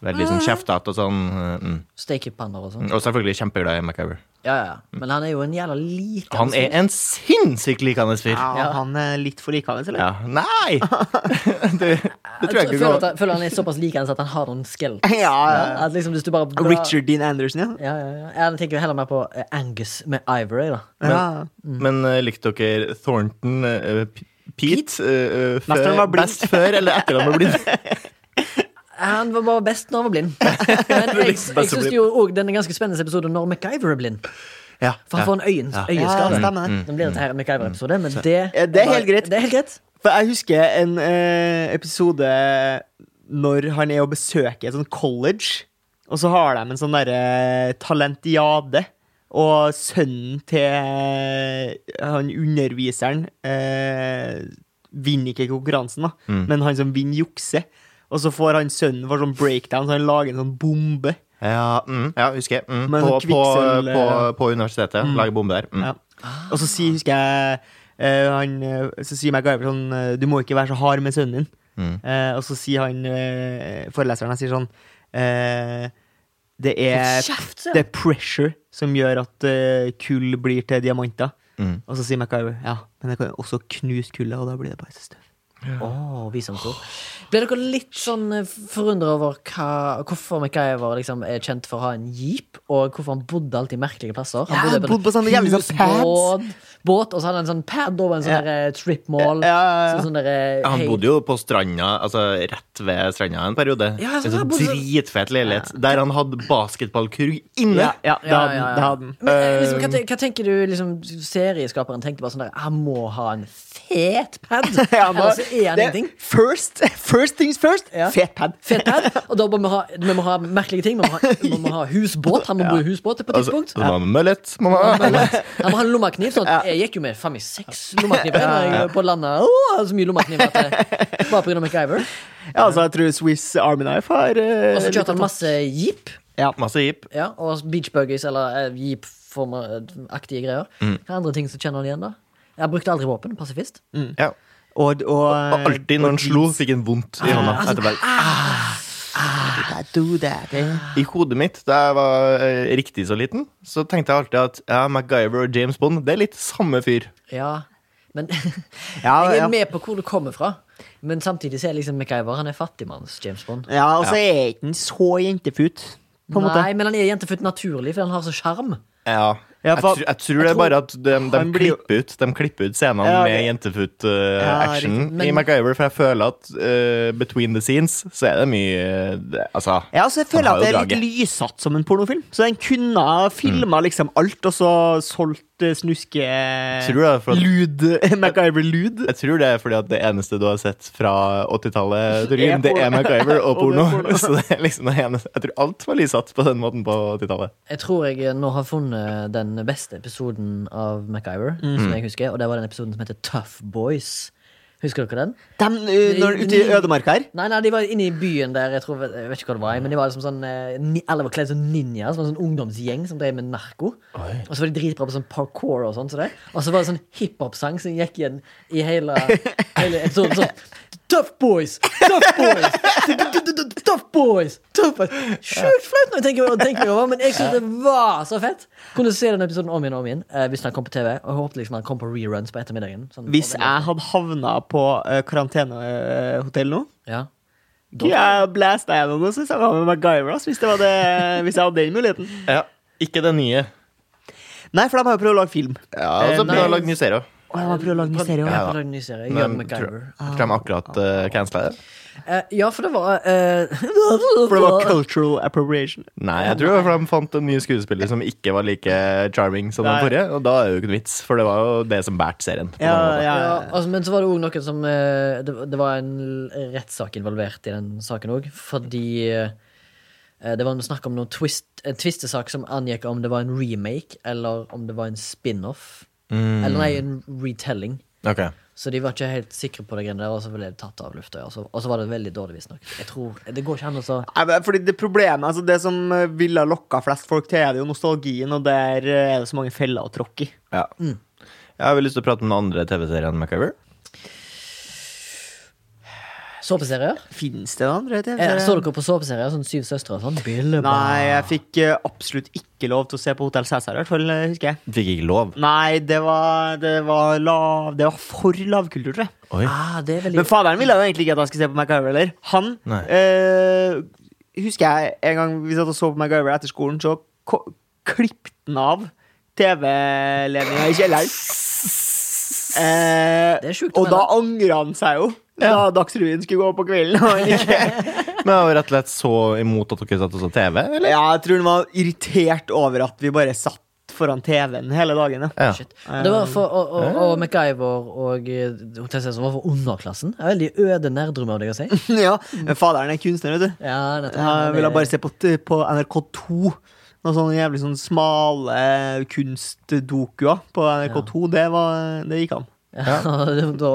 [SPEAKER 3] Veldig
[SPEAKER 2] Mm.
[SPEAKER 3] sånn kjeftete og sånn. eh, Mm.
[SPEAKER 2] Stekepanner og sånn.
[SPEAKER 3] Og selvfølgelig kjempeglad i MacGyver.
[SPEAKER 2] Ja, ja. ja. Men han er jo en jævla liten
[SPEAKER 3] Han er en sinnssykt likende fyr!
[SPEAKER 1] Ja, Han er litt for likende, eller?
[SPEAKER 3] Ja. Nei! det, det tror jeg ikke
[SPEAKER 2] føler,
[SPEAKER 3] går
[SPEAKER 2] at, han- føler han er såpass lik hans at han har noen skjelp.
[SPEAKER 1] Ja, ja, ja.
[SPEAKER 2] At liksom hvis du bare drar-
[SPEAKER 1] Richard Dean Anderson, ja.
[SPEAKER 2] Ja, ja, ja. Jeg tenker jo heller mer på eh, Angus med Ivory, da.
[SPEAKER 1] ja.
[SPEAKER 2] Mm.
[SPEAKER 3] Men eh, likte dere Thornton eh, P- Pete? eh, eh,
[SPEAKER 1] Mest når han var
[SPEAKER 3] før,
[SPEAKER 1] blind.
[SPEAKER 3] best før eller etter han var blind?
[SPEAKER 2] Han var bare best når han var blind. Men jeg, jeg
[SPEAKER 3] likte best å
[SPEAKER 2] syns
[SPEAKER 3] bli-
[SPEAKER 2] jo òg den er ganske spennende episoden når MacGyver er blind.
[SPEAKER 3] ja,
[SPEAKER 2] For han får en øyen,
[SPEAKER 3] Ja.
[SPEAKER 1] Ja,
[SPEAKER 2] øyeskade. Mm.
[SPEAKER 1] det stemmer. Mm.
[SPEAKER 2] Nå blir dette her en MacGyver-episode, men det
[SPEAKER 1] Ja, det er helt greit.
[SPEAKER 2] Det er helt greit.
[SPEAKER 1] For jeg husker en eh, episode når han er og besøker et sånt college, og så har de en sånn derre talentiade. Og sønnen til han underviseren eh, vinner ikke konkurransen, da, men han som vinner, jukser. Og så får han sønnen for sånn breakdown, så han lager en sånn bombe.
[SPEAKER 3] Ja, mm, ja, husker jeg. Mm,
[SPEAKER 1] Men
[SPEAKER 3] på, på,
[SPEAKER 1] kvikksølv,
[SPEAKER 3] på,
[SPEAKER 1] eh,
[SPEAKER 3] på universitetet. Lager bombe der. Mm.
[SPEAKER 1] Ja. Og så sier, husker jeg eh, han, eh, Så sier MacGyver sånn eh, Du må ikke være så hard med sønnen din. Eh, og så sier han eh, foreleseren Han sier sånn eh, Det er
[SPEAKER 2] Kjeft, sier
[SPEAKER 1] Det er pressure som gjør at eh, kull blir til diamanter. Og så sier MacGyver ja, men det kan jo også knuse kullet, og da blir det bare støv.
[SPEAKER 2] Åh, visdomsord. Ble dere litt sånn forundra over hva, hvorfor MacGyver liksom er kjent for å ha en jeep, og hvorfor han bodde alltid i merkelige plasser? Han
[SPEAKER 1] Ja, han bodde på sånne jævlig sånne pads.
[SPEAKER 2] båt, båt, og så hadde han en sånn pad over en sånn
[SPEAKER 1] Ja.
[SPEAKER 2] ja. strip mall.
[SPEAKER 1] Ja, ja, ja.
[SPEAKER 2] Sånn, sånn der,
[SPEAKER 3] Han
[SPEAKER 2] hei-
[SPEAKER 3] bodde jo på stranda, altså rett ved stranda en periode.
[SPEAKER 2] Ja, så
[SPEAKER 3] en
[SPEAKER 2] han
[SPEAKER 3] sånn
[SPEAKER 2] bodde-
[SPEAKER 3] dritfet leilighet der han hadde basketballkurv inne.
[SPEAKER 1] Ja, ja, det
[SPEAKER 2] Ja,
[SPEAKER 1] hadde
[SPEAKER 2] ja,
[SPEAKER 1] den.
[SPEAKER 2] ja.
[SPEAKER 1] Det hadde Um, den.
[SPEAKER 2] Men, eh, liksom, hva, te- hva tenker du liksom, serieskaperen tenkte bare sånn der Han må ha en fet pad!
[SPEAKER 1] Ja, da-
[SPEAKER 2] Ellers er han
[SPEAKER 1] det-
[SPEAKER 2] ingenting.
[SPEAKER 1] First, first things first.
[SPEAKER 2] Ja.
[SPEAKER 1] Fet pad.
[SPEAKER 2] Fet pad, og da må vi ha, vi må ha merkelige ting. Vi må ha, vi må ha husbåt. Han må bo i husbåt på et
[SPEAKER 3] Altså,
[SPEAKER 2] tidspunkt.
[SPEAKER 3] han hadde møllet, mamma.
[SPEAKER 2] Han må ha en lommakniv. Sånn at jeg gikk jo med faen meg seks lommakniver når jeg var på landet. Åh, jeg hadde så mye lommakniver at jeg, Bare pga. MacGyver.
[SPEAKER 1] Ja, altså, jeg tror Swiss Army Knife har eh,
[SPEAKER 2] Og så
[SPEAKER 1] litt
[SPEAKER 2] kjørte
[SPEAKER 1] av
[SPEAKER 2] han masse jeep.
[SPEAKER 3] Masse jeep.
[SPEAKER 2] Ja, og beach buggies eller eh, jeep-aktige greier.
[SPEAKER 1] Mm.
[SPEAKER 2] Hva andre ting som kjenner han igjen, da? Jeg brukte aldri våpen. Pasifist.
[SPEAKER 1] Mm.
[SPEAKER 3] Ja.
[SPEAKER 1] Og, og,
[SPEAKER 3] Og alltid når han slo, fikk han vondt i hånda.
[SPEAKER 2] altså,
[SPEAKER 3] etterpå.
[SPEAKER 1] Do that, eh.
[SPEAKER 3] I hodet mitt da jeg var eh, riktig så liten, så tenkte jeg alltid at ja, MacGyver og James Bond det er litt samme fyr.
[SPEAKER 2] Ja, men
[SPEAKER 1] Ja,
[SPEAKER 2] Jeg
[SPEAKER 1] ja.
[SPEAKER 2] er med på hvor du kommer fra, men samtidig så er liksom MacGyver han er fattigmanns James Bond.
[SPEAKER 1] Ja, og så er ikke den så jentefut, på en måte.
[SPEAKER 2] Nei, men han er jentefutt naturlig, for han har så sjarm.
[SPEAKER 3] Ja,
[SPEAKER 1] Ja,
[SPEAKER 3] jeg,
[SPEAKER 1] for-
[SPEAKER 3] tror, jeg tror det er
[SPEAKER 1] tror-
[SPEAKER 3] bare at de, de,
[SPEAKER 1] Han blir jo-
[SPEAKER 3] klipper, ut, de klipper ut scenene
[SPEAKER 1] Ja, ok.
[SPEAKER 3] med
[SPEAKER 1] Ja,
[SPEAKER 3] jentefoot-action
[SPEAKER 1] riktig.
[SPEAKER 3] i
[SPEAKER 2] Men-
[SPEAKER 3] MacGyver, for jeg føler at eh, between the scenes så er det mye eh, det- Altså,
[SPEAKER 1] Ja, altså, jeg føler
[SPEAKER 3] Han har
[SPEAKER 1] at det
[SPEAKER 3] jo
[SPEAKER 1] er litt
[SPEAKER 3] draget. Mm.
[SPEAKER 1] lyssatt som en pornofilm. Så den kunne ha filma liksom alt, og så solgt eh, snuske
[SPEAKER 3] Tror du det er for at-
[SPEAKER 1] Lud MacGyver-lud.
[SPEAKER 3] jeg tror det er fordi at det eneste du har sett fra 80-tallet,
[SPEAKER 1] Er
[SPEAKER 3] Torgrim, det er
[SPEAKER 1] porno.
[SPEAKER 3] MacGyver
[SPEAKER 1] Og
[SPEAKER 3] og
[SPEAKER 1] det
[SPEAKER 3] porno.
[SPEAKER 1] er porno.
[SPEAKER 3] Så det er liksom det eneste Jeg tror alt var lysatt på den måten på 80-tallet.
[SPEAKER 2] Jeg tror jeg nå har funnet den beste episoden av MacGyver, som jeg husker, og det var den episoden som heter Tough Boys. Husker dere den?
[SPEAKER 1] De, eh, når, ute i ødemarka her.
[SPEAKER 2] Nei, nei, de var inne i byen der, jeg, tror, jeg vet ikke hva det var, men de var liksom sånn eh, ni- Alle var kledd som ninja, som var en sånn ungdomsgjeng som drev med narko. Og så var de dritbra på sånn parkour og sånn, så det. Og så var det sånn hiphop-sang som gikk igjen i hele, hele episoden. Sånn Tough boys! Tough boys! Tough boys! Tough boys! Sjukt flaut når jeg tenker, tenker meg over, men jeg syns det var så fett. Kunne se den episoden om igjen og om igjen eh, hvis den kom på TV. Og jeg håpet liksom den kom på reruns på ettermiddagen. Sånn,
[SPEAKER 1] Hvis jeg hadde havna på eh, karantenehotell nå
[SPEAKER 2] Ja.
[SPEAKER 1] Jeg blæsta jeg noen og så sammen med MacGyver ass, hvis, det var det, hvis jeg hadde den muligheten.
[SPEAKER 3] Ja, Ikke den nye.
[SPEAKER 1] Nei, for de har jo prøvd å lage film.
[SPEAKER 3] Ja, altså, og så
[SPEAKER 1] Eh,
[SPEAKER 3] prøver jeg å
[SPEAKER 1] nei.
[SPEAKER 3] lage ny serie. også.
[SPEAKER 1] Og de har prøvd å lage en serie
[SPEAKER 2] Jeg
[SPEAKER 1] også.
[SPEAKER 2] har lagd en ny serie. Young
[SPEAKER 3] Men jeg tror,
[SPEAKER 2] MacGyver.
[SPEAKER 3] jeg tror de akkurat uh, cancela det.
[SPEAKER 2] Eh, ja, for det var eh,
[SPEAKER 1] For det var cultural appropriation.
[SPEAKER 3] Nei, jeg tror det var fordi de fant en ny skuespiller som ikke var like charming som den
[SPEAKER 1] Nei.
[SPEAKER 3] forrige. Og da er det jo ikke noe vits, for det var jo det som bært serien. på
[SPEAKER 1] Ja,
[SPEAKER 3] mange måter.
[SPEAKER 1] ja,
[SPEAKER 2] ja,
[SPEAKER 1] ja.
[SPEAKER 2] altså, Men så var det òg noen som eh, det, det var en l- rettssak involvert i den saken òg, fordi eh, det var noe snakk om noen twist, en tvistesak som angikk om det var en remake eller om det var en spin-off.
[SPEAKER 1] Mm.
[SPEAKER 2] Eller nei, en retelling.
[SPEAKER 3] Ok.
[SPEAKER 2] Så de var ikke helt sikre på det greiene der, og så ble det tatt av lufta. ja, Og så, og så var det veldig dårlig, visstnok. Jeg tror- Det går ikke an å så
[SPEAKER 1] Nei, men Fordi det problemet, altså det som eh, ville ha lokka flest folk til, er det jo nostalgien, og der eh, er det så mange feller å tråkke i.
[SPEAKER 3] Ja. Jeg har vel lyst til å prate om den andre TV-serien enn MacGyver.
[SPEAKER 2] Såpeserier?
[SPEAKER 1] Fins det noen andre TV?
[SPEAKER 2] Eh, Så dere på såpeserier? Sånn Syv søstre og sånn?
[SPEAKER 1] Nei, jeg fikk eh, absolutt ikke lov til å se på Hotell Cæsar, i hvert fall, eh, husker jeg.
[SPEAKER 3] Fikk ikke lov.
[SPEAKER 1] Nei, det var, det var lav Det var for lavkultur, tror jeg.
[SPEAKER 3] Oi.
[SPEAKER 2] Ah, det er veldig
[SPEAKER 1] Men faderen ville jo egentlig ikke at jeg skulle se på MacGyver heller. Han
[SPEAKER 3] Nei.
[SPEAKER 1] eh, Husker jeg en gang vi satt og så på MacGyver etter skolen, så ko- klippte han av TV-ledninga i kjelleren. Eh,
[SPEAKER 2] Det er sjukt å
[SPEAKER 1] og da
[SPEAKER 2] mene.
[SPEAKER 1] angra han seg jo. Da Dagsrevyen skulle gå på kvelden. Og han ikke.
[SPEAKER 3] Men jeg var rett og slett så imot at dere satt og så TV, eller?
[SPEAKER 1] Ja, jeg tror han var irritert over at vi bare satt foran TV-en hele dagen. Ja.
[SPEAKER 3] Ja.
[SPEAKER 2] Shit. Men Det var for, og, og, og MacGyver og eh, Hotel Cæsar var for underklassen. Det er Veldig øde nerdrom av deg å si.
[SPEAKER 1] ja, men Faderen er kunstner, vet du.
[SPEAKER 2] Ja, nettopp.
[SPEAKER 1] Jeg ville bare se på, t- på NRK2. Noen sånne jævlig sånn smale kunstdokuer på NRK2. Det, var, det gikk an.
[SPEAKER 2] Ja, da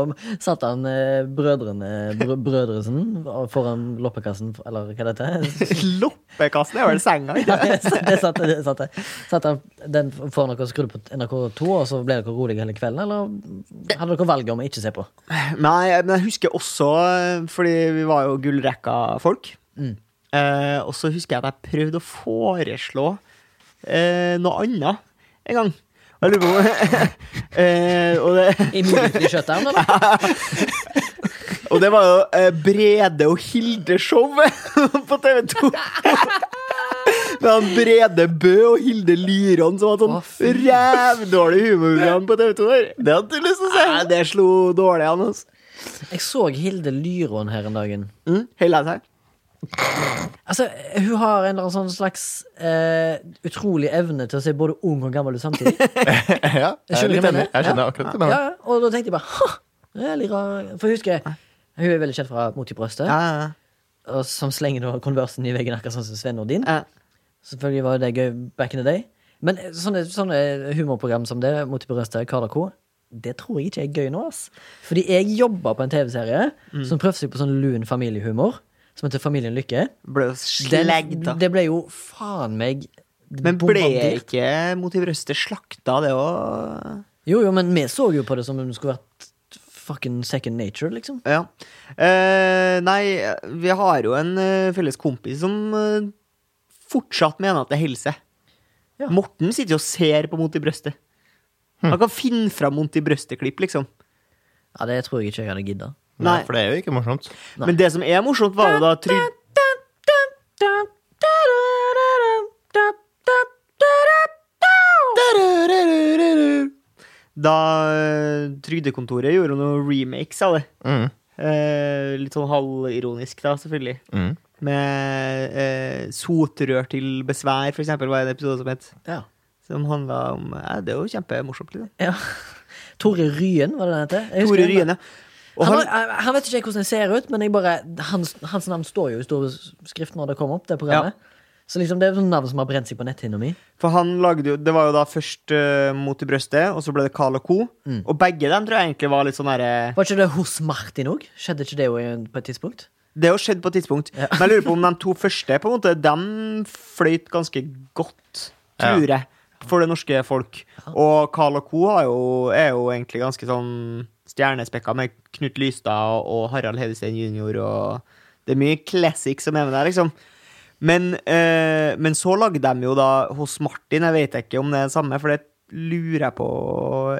[SPEAKER 2] satt han eh, brødrene brø, Brødresen foran loppekassen, eller hva det heter.
[SPEAKER 1] Loppekassen er vel senga? ikke det?
[SPEAKER 2] Det satt, det satt, satt han den foran dere og skrudde på NRK2, og så ble dere rolige hele kvelden? Eller hadde dere valget om å ikke se på?
[SPEAKER 1] Nei, men jeg husker også, eh, fordi vi var jo gullrekka-folk eh, Og så husker jeg at jeg prøvde å foreslå eh, noe annet en gang. Og Jeg lurer på om eh, Og det
[SPEAKER 2] I muligheten i shutdown, eller?
[SPEAKER 1] Og det var jo eh, Brede og Hilde-showet på TV2. Det var Brede Bø og Hilde Lyron som hadde
[SPEAKER 2] Å,
[SPEAKER 1] sånn rævdårlig humorprogram på TV2. Der. Det hadde du lyst til å se. Nei, det slo dårlig an. Altså.
[SPEAKER 2] Jeg så Hilde Lyron her en dagen.
[SPEAKER 1] Mm, Heller seg.
[SPEAKER 2] Altså, Hun har en eller annen sånn slags eh, utrolig evne til å se både ung og gammel ut samtidig.
[SPEAKER 3] Ja, jeg
[SPEAKER 2] skjønner
[SPEAKER 3] er
[SPEAKER 2] hva
[SPEAKER 3] litt
[SPEAKER 2] jeg
[SPEAKER 3] enig.
[SPEAKER 2] mener.
[SPEAKER 3] Jeg skjønner
[SPEAKER 2] Ja.
[SPEAKER 3] akkurat det.
[SPEAKER 2] Ja,
[SPEAKER 3] Men
[SPEAKER 2] ja. og da tenkte jeg bare ha, det er litt rar. For jeg husker hun er veldig kjent fra Mot i brøstet,
[SPEAKER 1] Ja, ja,
[SPEAKER 2] og som slenger da konversen i veggen, akkurat sånn som Sven Nordin.
[SPEAKER 1] ja.
[SPEAKER 2] Selvfølgelig var det gøy back in the day. Men eh, sånne, sånne humorprogram som det, Mot i brøstet, Karl og Co., det tror jeg ikke er gøy nå, ass. Fordi jeg jobba på en TV-serie
[SPEAKER 1] Mm.
[SPEAKER 2] som prøvde seg på sånn lun familiehumor, som heter Familien Lykke.
[SPEAKER 1] Ble jo sleggt, da.
[SPEAKER 2] det ble jo faen meg
[SPEAKER 1] Men ble
[SPEAKER 2] bombardert.
[SPEAKER 1] ikke Motiv Røste slakta, det òg?
[SPEAKER 2] Jo, jo, men vi så jo på det som om det skulle vært fucking second nature, liksom.
[SPEAKER 1] Ja. Eh, nei, vi har jo en eh, felles kompis som eh, fortsatt mener at det er helse.
[SPEAKER 2] Ja.
[SPEAKER 1] Morten sitter jo og ser på vondt i brøstet.
[SPEAKER 3] Hm.
[SPEAKER 1] Han kan finne fram vondt i brøstet-klipp, liksom.
[SPEAKER 2] Ja, det tror jeg ikke jeg hadde gidda.
[SPEAKER 3] Nei,
[SPEAKER 1] Nei.
[SPEAKER 3] for det er jo ikke morsomt.
[SPEAKER 1] Men det som er morsomt, var jo da Trygve Da eh, Trygdekontoret gjorde noen remakes av det.
[SPEAKER 3] Mm.
[SPEAKER 1] Eh, litt sånn halvironisk, da, selvfølgelig.
[SPEAKER 3] Mm.
[SPEAKER 1] Med eh, sotrør til besvær, for eksempel, var en episode som het.
[SPEAKER 2] Ja.
[SPEAKER 1] Som handla om ja, Det er jo kjempemorsomt. Liksom.
[SPEAKER 2] ja. Tore Ryen, var det den heter? Jeg husker
[SPEAKER 1] Tore
[SPEAKER 2] den.
[SPEAKER 1] Ryene. Og
[SPEAKER 2] Han,
[SPEAKER 1] han,
[SPEAKER 2] var- han vet ikke jeg hvordan jeg ser ut, men jeg bare, hans, hans navn står jo i stor skrift når det kommer opp, det programmet. Så liksom, det er sånn navn som har brent seg på netthinna mi.
[SPEAKER 1] for han lagde jo Det var jo da først eh, Mot i brøstet, og så ble det Carl og co.
[SPEAKER 2] Mm.
[SPEAKER 1] Og begge dem tror jeg egentlig var litt sånn derre
[SPEAKER 2] Var ikke det hos Martin òg? Skjedde ikke det jo i- på et tidspunkt?
[SPEAKER 1] Det har skjedd på et tidspunkt. Men jeg lurer på om de to første på en måte, de fløyt ganske godt, tror jeg, for det norske folk. Og Carl og Co. Har jo, er jo egentlig ganske sånn stjernespekka med Knut Lystad og Harald Hedestein jr. og Det er mye classic som er med der, liksom. Men, eh, men så lagde de jo da hos Martin, jeg vet ikke om det er det samme, for det lurer jeg på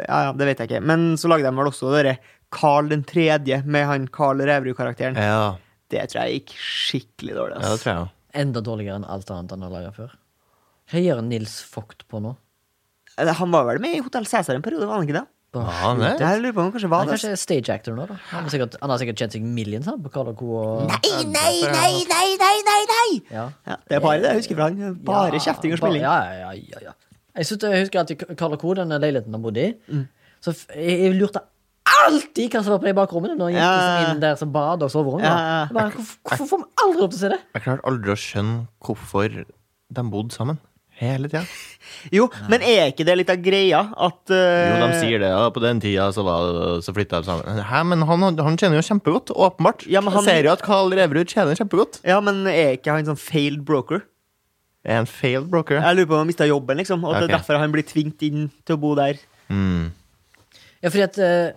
[SPEAKER 1] Ja, ja, det vet jeg ikke. Men så lagde de vel også dere Carl den tredje, med han Carl Reverud-karakteren.
[SPEAKER 3] Ja,
[SPEAKER 1] Det tror jeg gikk skikkelig dårlig.
[SPEAKER 3] ja det
[SPEAKER 1] Ass.
[SPEAKER 3] tror jeg òg.
[SPEAKER 2] Enda dårligere enn alt annet han har laga før. Hva gjør Nils Vogt på nå?
[SPEAKER 1] Eller, Han var vel med i Hotell Cæsar en periode, var han ikke det?
[SPEAKER 3] Ja, han er.
[SPEAKER 1] Det her lurer jeg på om han kanskje
[SPEAKER 2] Han
[SPEAKER 1] var
[SPEAKER 2] er
[SPEAKER 1] det. ass.
[SPEAKER 2] kanskje stage actor nå, da. Han har sikkert, han har sikkert tjent seg millions han, på Karl Co. og ja.
[SPEAKER 1] Ja, det er bare det jeg husker fra han. Bare
[SPEAKER 2] Ja,
[SPEAKER 1] kjefting og
[SPEAKER 2] bare-
[SPEAKER 1] spilling.
[SPEAKER 2] Ja, ja, ja, ja, ja. Jeg, synes, jeg husker alltid Karl Co., den leiligheten han bodde i.
[SPEAKER 1] Mm.
[SPEAKER 2] Så f- jeg, jeg lurte alltid hva som var på de bakrommene når jeg gikk
[SPEAKER 1] Ja, ja, ja.
[SPEAKER 2] liksom inn der som bad og soverom. da.
[SPEAKER 1] Ja, ja, ja.
[SPEAKER 2] Jeg bare, Hvorfor hvorfor får vi aldri opp til å se det?
[SPEAKER 3] Jeg klarte aldri å skjønne hvorfor de bodde sammen. Hele tida.
[SPEAKER 1] Jo, men er ikke det litt av greia at eh,
[SPEAKER 3] Jo, de
[SPEAKER 2] Eh,
[SPEAKER 3] sier det. Ja, på den tida så, var- så flytta de sammen. Hæ, men han, han tjener jo kjempegodt, åpenbart.
[SPEAKER 1] Ja, men han-
[SPEAKER 3] Ser jo at Karl Reverud tjener kjempegodt.
[SPEAKER 1] Ja, men er ikke han sånn failed broker?
[SPEAKER 3] Er en failed broker.
[SPEAKER 1] Jeg lurer på om han mista jobben, liksom. Og at det er
[SPEAKER 3] Ok.
[SPEAKER 1] derfor han blir tvingt inn til å bo der.
[SPEAKER 3] Mm.
[SPEAKER 2] Ja, fordi at eh,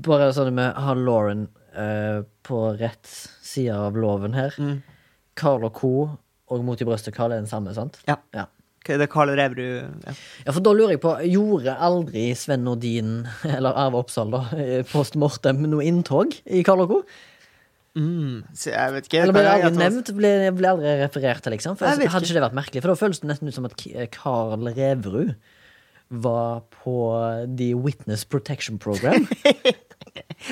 [SPEAKER 2] Bare sånn med har Lauren eh, på rett side av loven her.
[SPEAKER 1] Mm.
[SPEAKER 2] Carl og Co. og Mot i brøstet Carl er den samme, sant?
[SPEAKER 1] Ja.
[SPEAKER 2] Ja.
[SPEAKER 1] Ok, Det er Karl Reverud ja.
[SPEAKER 2] Ja, for da lurer jeg på, gjorde aldri Sven Nordin, eller Arve Oppsal da, eh, post mortem noe inntog i Karl og Co?
[SPEAKER 1] Mm, Så Jeg vet ikke.
[SPEAKER 2] Eller ble det aldri
[SPEAKER 1] Jeg- jeg-
[SPEAKER 2] nevnt? Ble, ble aldri referert til, liksom? For
[SPEAKER 1] Jeg vet
[SPEAKER 2] hadde ikke det vært merkelig? For da føles det nesten ut som at K- Karl Reverud var på eh, The Witness Protection Program.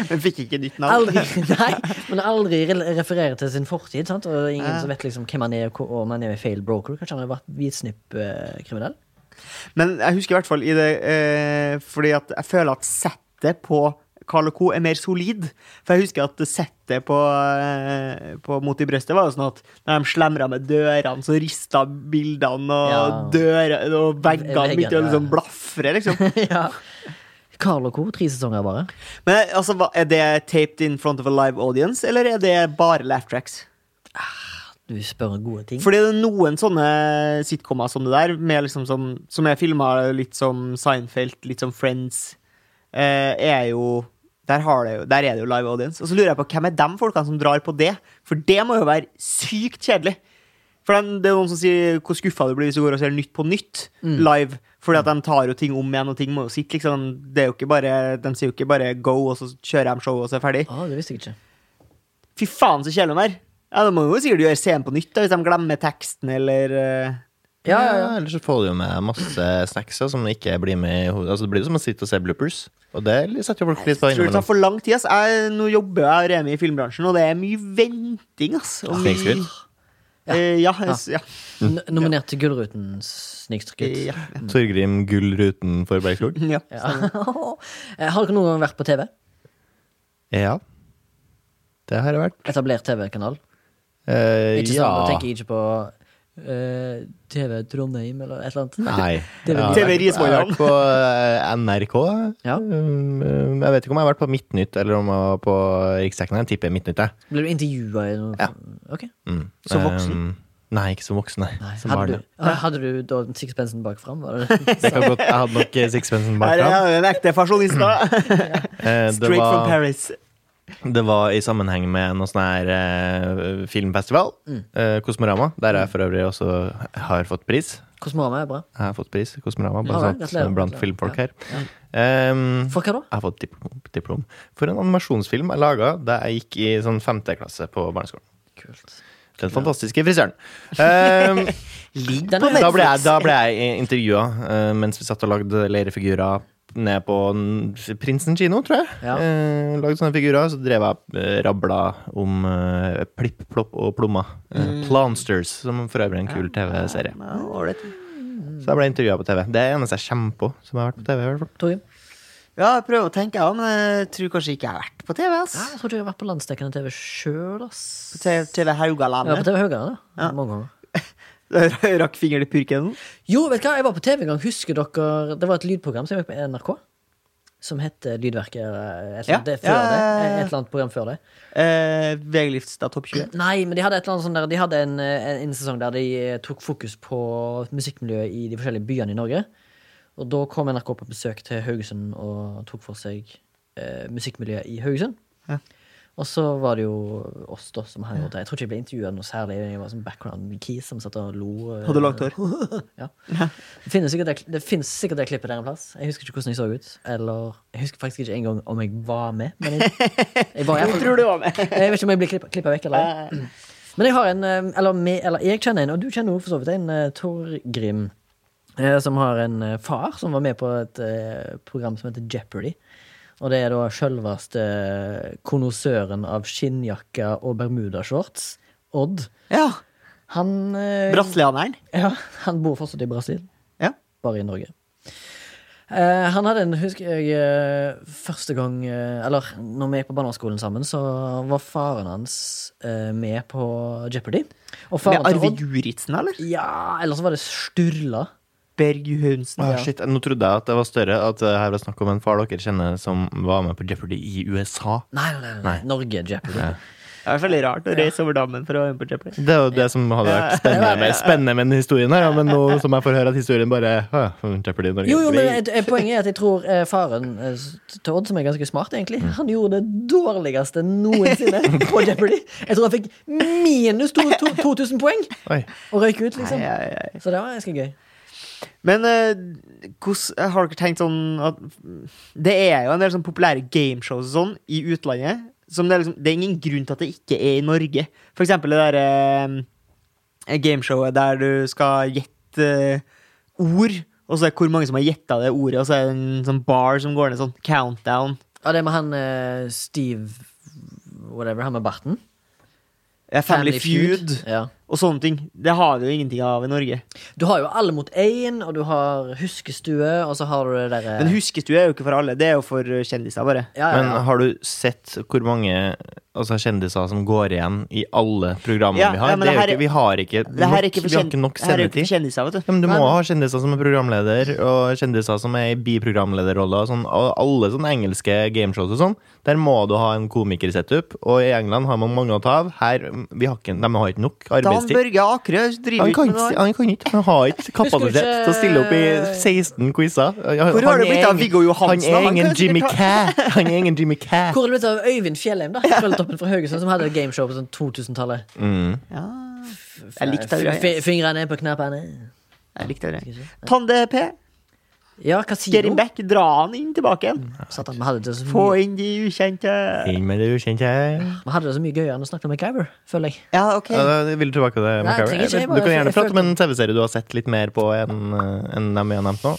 [SPEAKER 1] Men fikk ikke nytt navn.
[SPEAKER 2] Aldri, nei, men aldri re- refererer til sin fortid, sant? Og ingen som vet liksom hvem han er, og hvor- om han er fail broker. Kanskje han har vært hvitsnippkriminell?
[SPEAKER 1] Men jeg husker i hvert fall i det eh, Fordi at jeg føler at settet på Carl Co. er mer solid. For jeg husker at settet på, eh, på Mot i brøstet var jo sånn at når de slemra med dørene, så rista bildene og
[SPEAKER 2] Ja.
[SPEAKER 1] dører og veggene
[SPEAKER 2] Veggene,
[SPEAKER 1] begynte å
[SPEAKER 2] ja.
[SPEAKER 1] liksom blafre, liksom.
[SPEAKER 2] ja. Carl og co. tre sesonger bare.
[SPEAKER 1] Men altså, hva- er det taped in front of a live audience, eller er det bare laugh tracks?
[SPEAKER 2] Du spør om gode ting.
[SPEAKER 1] Fordi det er noen sånne sitcomer som det der, med liksom som, som er filma litt som Seinfeld, litt som Friends, eh, er jo der, har det jo der er det jo live audience. Og så lurer jeg på hvem er de folkene som drar på det? For det må jo være sykt kjedelig. For den, det er noen som sier hvor skuffa du blir hvis du går og ser Nytt på Nytt live. Fordi at de tar jo ting om igjen, og ting må jo sitte, liksom. Det er jo ikke bare, de sier jo ikke bare go, og så kjører de showet, og så er det ferdig.
[SPEAKER 2] Ah, det visste jeg ikke.
[SPEAKER 1] Fy faen, så kjedelig de er. Ja, da må jo sikkert gjøre scenen på nytt, da, hvis de glemmer teksten, eller eh,
[SPEAKER 2] Ja, ja, ja.
[SPEAKER 3] Ellers så får du jo med masse snacks ja, som ikke blir med i hodet. Altså, det blir jo som å sitte og se bloopers, og det setter jo folk
[SPEAKER 1] Tror
[SPEAKER 3] litt på
[SPEAKER 1] det tar
[SPEAKER 3] innimellom.
[SPEAKER 1] for lang tid, ass. Jeg, nå jobber jeg og Remi i filmbransjen, og det er mye venting, ass. Og mye-
[SPEAKER 3] Snikskryt.
[SPEAKER 1] Eh, ja, jeg s- ja.
[SPEAKER 2] N nominert til Gullruten snikskryt.
[SPEAKER 1] Ja.
[SPEAKER 3] Torgrim Gullruten for Bergskog.
[SPEAKER 1] ja.
[SPEAKER 2] Ja. Eh, Har dere noen gang vært på TV?
[SPEAKER 3] Ja. Det har det vært.
[SPEAKER 2] Etablert TV-kanal?
[SPEAKER 3] Eh,
[SPEAKER 2] Ikke sånn,
[SPEAKER 3] ja.
[SPEAKER 2] da tenker jeg ikke på eh, TV Trondheim eller et eller annet.
[SPEAKER 3] Nei.
[SPEAKER 2] Det er vel-
[SPEAKER 3] Ja,
[SPEAKER 1] TV
[SPEAKER 3] jeg har vært- Jeg har
[SPEAKER 1] Risvollan.
[SPEAKER 3] vært på eh, NRK.
[SPEAKER 2] Ja.
[SPEAKER 3] Um, um, Jeg vet ikke om jeg har vært på Midtnytt eller om jeg var på Riksdekkende. Jeg tipper Midtnytt, jeg.
[SPEAKER 2] Ble du intervjua i noe?
[SPEAKER 3] Ja.
[SPEAKER 2] Ok.
[SPEAKER 3] Mm.
[SPEAKER 1] Som voksen?
[SPEAKER 3] Um, Nei, ikke som voksen. Nei.
[SPEAKER 2] Nei.
[SPEAKER 3] Som
[SPEAKER 2] Hadde,
[SPEAKER 3] barn.
[SPEAKER 2] du, ah, hadde du da sixpensen bak fram? Var det det?
[SPEAKER 3] Det kan godt, jeg hadde nok eh, sixpensen bak
[SPEAKER 1] Her
[SPEAKER 3] fram.
[SPEAKER 1] er jeg en ekte fasjonist, da.
[SPEAKER 3] Eh, Det
[SPEAKER 1] Straight from
[SPEAKER 3] var,
[SPEAKER 1] Paris.
[SPEAKER 3] det var i sammenheng med noe sånn her eh, filmfestival.
[SPEAKER 2] Mm.
[SPEAKER 3] eh, Kosmorama, der jeg for øvrig også har fått pris.
[SPEAKER 2] Kosmorama er bra.
[SPEAKER 3] Jeg har fått pris i Kosmorama,
[SPEAKER 2] Ja,
[SPEAKER 3] bare
[SPEAKER 2] vel,
[SPEAKER 3] sånn
[SPEAKER 2] gratulerer,
[SPEAKER 3] at- blant
[SPEAKER 2] gratulerer.
[SPEAKER 3] filmfolk
[SPEAKER 2] Ja,
[SPEAKER 3] her. Um,
[SPEAKER 2] For hva da?
[SPEAKER 3] Jeg har fått diplom, diplom for en animasjonsfilm jeg laga da jeg gikk i sånn femte klasse på barneskolen.
[SPEAKER 2] Kult.
[SPEAKER 3] Den fantastiske frisøren. Um,
[SPEAKER 1] Ligg
[SPEAKER 2] Den
[SPEAKER 1] på
[SPEAKER 2] er-
[SPEAKER 3] da, ble
[SPEAKER 1] Netflix.
[SPEAKER 3] jeg, da ble jeg intervjua eh, mens vi satt og lagde leirefigurer ned på n- Prinsen kino, tror jeg.
[SPEAKER 2] Ja.
[SPEAKER 3] Eh, lagde sånne figurer. Så drev jeg uh, rabla om eh, plipp, plopp og plommer. Eh,
[SPEAKER 2] Mm.
[SPEAKER 3] Plansters, som for øvrig
[SPEAKER 2] Ah.
[SPEAKER 3] er en kul TV-serie.
[SPEAKER 1] Ja, ålreit.
[SPEAKER 3] Så jeg ble intervjua på TV. Det er det eneste jeg kommer på som har vært på TV. i hvert fall.
[SPEAKER 2] Torgrim?
[SPEAKER 1] Ja, jeg prøver å tenke, jeg òg, men jeg tror kanskje ikke jeg har vært på TV. ass
[SPEAKER 2] Ja, jeg tror ikke jeg har vært på landsdekkende TV sjøl, ass.
[SPEAKER 1] På T- TV
[SPEAKER 2] Jeg var på
[SPEAKER 1] Haugalandet.
[SPEAKER 2] TV Høgane, da. Mange ganger.
[SPEAKER 1] Rakk fingeren i purken.
[SPEAKER 2] Jo, vet du hva, jeg var på TV en gang. Husker dere Det var et lydprogram som gikk på NRK. Som het Lydverket eller et eller
[SPEAKER 1] Ja.
[SPEAKER 2] annet, det, før
[SPEAKER 1] Ja, ja, ja,
[SPEAKER 2] det.
[SPEAKER 1] ja.
[SPEAKER 2] Et eller annet program før det.
[SPEAKER 1] Eh, VG-Livstad Topp 20.
[SPEAKER 2] Nei, men de hadde, et eller annet sånn der, de hadde en, en, en sesong der de eh, tok fokus på musikkmiljøet i de forskjellige byene i Norge. Og da kom NRK på besøk til Haugesund og tok for seg eh, musikkmiljøet i Haugesund.
[SPEAKER 1] Ja.
[SPEAKER 2] Og så var det jo oss da som hang rundt der. Jeg tror ikke jeg ble intervjua noe særlig. Jeg var sånn background keys som satt og lo. eh.
[SPEAKER 1] Hadde langt hår.
[SPEAKER 2] Ja. Det finnes sikkert det, det finnes sikkert det klippet der en plass. Jeg husker ikke hvordan jeg så ut. Eller jeg husker faktisk ikke engang om jeg var med. Men jeg, jeg var i hvert
[SPEAKER 1] Jeg
[SPEAKER 2] fall-
[SPEAKER 1] tror du var med.
[SPEAKER 2] jeg vet ikke om jeg blir klippa, klippa vekk eller ei. Men jeg har en, eh, eller, me- eller jeg kjenner en, og du kjenner jo for så vidt en, eh, Torgrim. eh, Som har en eh, far som var med på et eh, program som heter Jeopardy. Og det er da sjølveste konnoissøren av skinnjakke og bermudashorts, Odd.
[SPEAKER 1] Ja.
[SPEAKER 2] Han, eh,
[SPEAKER 1] Brasilianeren.
[SPEAKER 2] ja, han bor fortsatt i Brasil
[SPEAKER 1] Ja.
[SPEAKER 2] bare i Norge. Eh, han hadde en, husker jeg, eh, første gang eh, Eller når vi gikk på barneskolen sammen, så var faren hans eh, med på Jeopardy. Og
[SPEAKER 1] Med
[SPEAKER 2] faren til
[SPEAKER 1] Arve
[SPEAKER 2] Odd
[SPEAKER 1] Juritzen, eller?
[SPEAKER 2] Ja, eller så var det Sturla.
[SPEAKER 1] Berg Johansen.
[SPEAKER 3] Ah, shit, Nå trodde jeg at det var større, at eh, her var snakk om en far dere kjenner som var med på Jeopardy i USA.
[SPEAKER 2] Nei, nei, nei, nei.
[SPEAKER 3] Nei.
[SPEAKER 2] Norge Jeopardy.
[SPEAKER 1] Det er veldig rart å reise over dammen for å være med på Jeopardy.
[SPEAKER 3] Det er jo det som hadde vært spennende med, spennende med den historien her, ja, men nå som jeg får høre at historien bare ah, Jeopardy i Norge.
[SPEAKER 2] Jo, jo, men eh, eh, Poenget er at jeg tror eh, faren eh, til Odd, som er ganske smart, egentlig,
[SPEAKER 1] Mm.
[SPEAKER 2] han gjorde det dårligste noensinne på Jeopardy. Jeg tror han fikk minus to- to- 2000 poeng
[SPEAKER 3] Oi.
[SPEAKER 2] og røyk ut, liksom.
[SPEAKER 1] Nei, nei, nei.
[SPEAKER 2] Så det var ganske gøy.
[SPEAKER 1] Men eh, hvordan- har dere tenkt sånn at Det er jo en del sånn populære gameshows og sånn i utlandet. Som det, er liksom, det er ingen grunn til at det ikke er i Norge. For eksempel det derre gameshowet der du skal gjette eh, ord, og så er det hvor mange som har gjetta det ordet, og så er det en sånn bar som går ned sånn countdown.
[SPEAKER 2] Ja, det er med han eh, Steve Whatever, han med barten.
[SPEAKER 1] Ja, Family, Feud,
[SPEAKER 2] Ja.
[SPEAKER 1] og sånne ting. Det har vi jo ingenting av i Norge.
[SPEAKER 2] Du har jo Alle mot én, og du har Huskestue, og så har du det derre
[SPEAKER 1] Men huskestue er jo ikke for alle, det er jo for eh, kjendiser, bare.
[SPEAKER 2] ja, ja,
[SPEAKER 3] Men
[SPEAKER 2] ja.
[SPEAKER 3] har du sett hvor mange altså, kjendiser som går igjen i alle programmene
[SPEAKER 1] Ja,
[SPEAKER 3] vi har?
[SPEAKER 1] ja, men
[SPEAKER 3] det er
[SPEAKER 1] det her er-
[SPEAKER 3] jo ikke, vi har ikke,
[SPEAKER 1] Det her er
[SPEAKER 3] nok-
[SPEAKER 1] ikke for,
[SPEAKER 3] vi har
[SPEAKER 1] kjen-
[SPEAKER 3] ikke nok
[SPEAKER 1] det her er jo ikke
[SPEAKER 3] sendetid.
[SPEAKER 1] for kjendiser, vet du.
[SPEAKER 3] Ja, men du må
[SPEAKER 2] Nei.
[SPEAKER 3] ha kjendiser som er programleder, og kjendiser som er i biprogramlederroller. og Sånn, og alle sånne engelske gameshows og sånn. Der må du ha en komikersetup. Og i England har man mange å ta av. Her, vi har ikke, De har ikke nok
[SPEAKER 1] Dan
[SPEAKER 3] arbeidstid.
[SPEAKER 1] Børge Akerø driver
[SPEAKER 3] Han
[SPEAKER 1] ut
[SPEAKER 3] kan,
[SPEAKER 1] med
[SPEAKER 3] ikke,
[SPEAKER 1] noe.
[SPEAKER 3] han kan ikke, han har ikke kapasitet
[SPEAKER 2] ikke-
[SPEAKER 3] til å stille opp i 16 quizer.
[SPEAKER 1] Hvor har det blitt av Viggo Johansen?
[SPEAKER 3] Han er
[SPEAKER 1] Han
[SPEAKER 3] ingen
[SPEAKER 1] kan jo
[SPEAKER 3] Jimmy
[SPEAKER 1] sikkert
[SPEAKER 3] Cæ. Han er ingen Jimmy Cæ.
[SPEAKER 2] Hvor er
[SPEAKER 3] Mm,
[SPEAKER 2] det blitt av Øyvind Fjellheim, da? Krølltoppen fra Haugesund, som hadde et gameshow på sånn 2000-tallet.
[SPEAKER 1] Ja. Jeg likte det greia.
[SPEAKER 2] Fi- Fingrene på knappene.
[SPEAKER 1] Jeg likte det. Tande-P,
[SPEAKER 2] Ja, hva sier
[SPEAKER 1] get him
[SPEAKER 2] hun?
[SPEAKER 1] back. Dra han inn tilbake igjen.
[SPEAKER 2] Satan, vi hadde det så
[SPEAKER 1] Få
[SPEAKER 2] mye,
[SPEAKER 1] inn de ukjente.
[SPEAKER 3] Inn med det ukjente.
[SPEAKER 2] vi hadde det så mye gøyere enn å snakke om MacGyver, føler jeg.
[SPEAKER 1] Ja, OK.
[SPEAKER 3] Ja, da vil du tilbake til
[SPEAKER 2] Nei,
[SPEAKER 3] det,
[SPEAKER 2] jeg
[SPEAKER 3] MacGyver?
[SPEAKER 2] trenger ikke, jeg
[SPEAKER 3] Du
[SPEAKER 2] bare-
[SPEAKER 3] kan
[SPEAKER 2] jeg
[SPEAKER 3] gjerne prate om
[SPEAKER 2] følte-
[SPEAKER 3] en TV-serie du har sett litt mer på enn eh, enn dem vi har nevnt nå.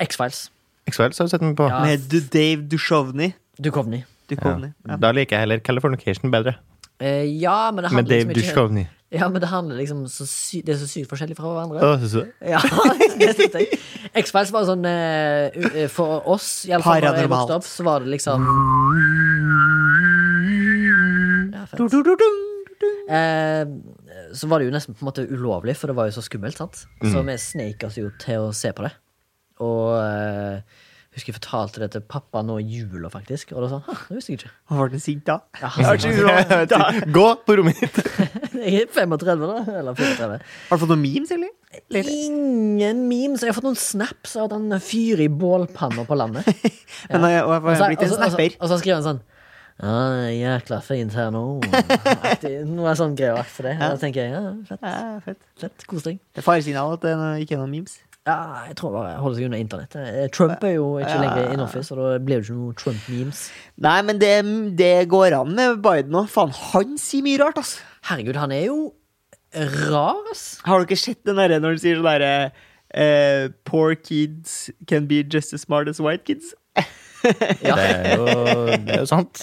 [SPEAKER 2] X-Files.
[SPEAKER 3] X-Files har du sett den på.
[SPEAKER 2] Ja.
[SPEAKER 1] Med du Dave Duchovny.
[SPEAKER 2] Duchovny.
[SPEAKER 1] Duchovny. Ja.
[SPEAKER 3] Da liker jeg heller Californication bedre.
[SPEAKER 2] Eh, ja, men det
[SPEAKER 3] Med
[SPEAKER 2] handler
[SPEAKER 3] Dave
[SPEAKER 2] liksom ikke
[SPEAKER 3] Duchovny.
[SPEAKER 2] Ja, men det handler liksom så sy Det er så sykt forskjellig fra hverandre.
[SPEAKER 3] Å, synes du?
[SPEAKER 2] Ja, det synes jeg. X-Files var sånn eh, u- eh, For oss, iallfall da jeg
[SPEAKER 1] Paranormalt.
[SPEAKER 2] vokste opp, så var det liksom ja, fett. Eh, så var det jo nesten på en måte ulovlig, for det var jo så skummelt. sant? Så vi sneik oss jo til å se på det. Og eh, husker jeg fortalte det til pappa nå i jula, faktisk. Og da sa han «Hå, det visste jeg ikke.
[SPEAKER 1] Hva var den sint da?
[SPEAKER 2] Ja,
[SPEAKER 1] Har du
[SPEAKER 3] Gå på rommet ditt!
[SPEAKER 2] jeg er 35, da. Eller 34.
[SPEAKER 1] fått noen memes, eller? Eller-
[SPEAKER 2] Ingen memes. Jeg har fått noen snaps av at han fyrer i bålpanner på landet.
[SPEAKER 1] Men jeg,
[SPEAKER 3] Altså,
[SPEAKER 1] og jeg
[SPEAKER 2] Og så-
[SPEAKER 1] har blitt en
[SPEAKER 2] og så- og så-
[SPEAKER 1] snapper.
[SPEAKER 2] Og så skriver han sånn Ja, det er jækla fint her nå. Aktig- Noe sånn greier for det. Da tenker jeg ja, fett,
[SPEAKER 1] Ja, fett.
[SPEAKER 2] fett, kos deg.
[SPEAKER 1] Det er faresignal at det ikke er noen memes.
[SPEAKER 2] Ja, jeg tror bare jeg holder seg unna internett. Eh, Trump er jo ikke lenger in office, og da blir det ikke noe Trump-memes.
[SPEAKER 1] Nei, men det, det går an med Biden òg. Faen, han sier mye rart, ass.
[SPEAKER 2] Herregud, han er jo rar, ass.
[SPEAKER 1] Har dere sett den derre når han sier sånn derre eh, Poor kids can be just as smart as white kids.
[SPEAKER 2] Ja.
[SPEAKER 3] Det er jo, det er jo sant.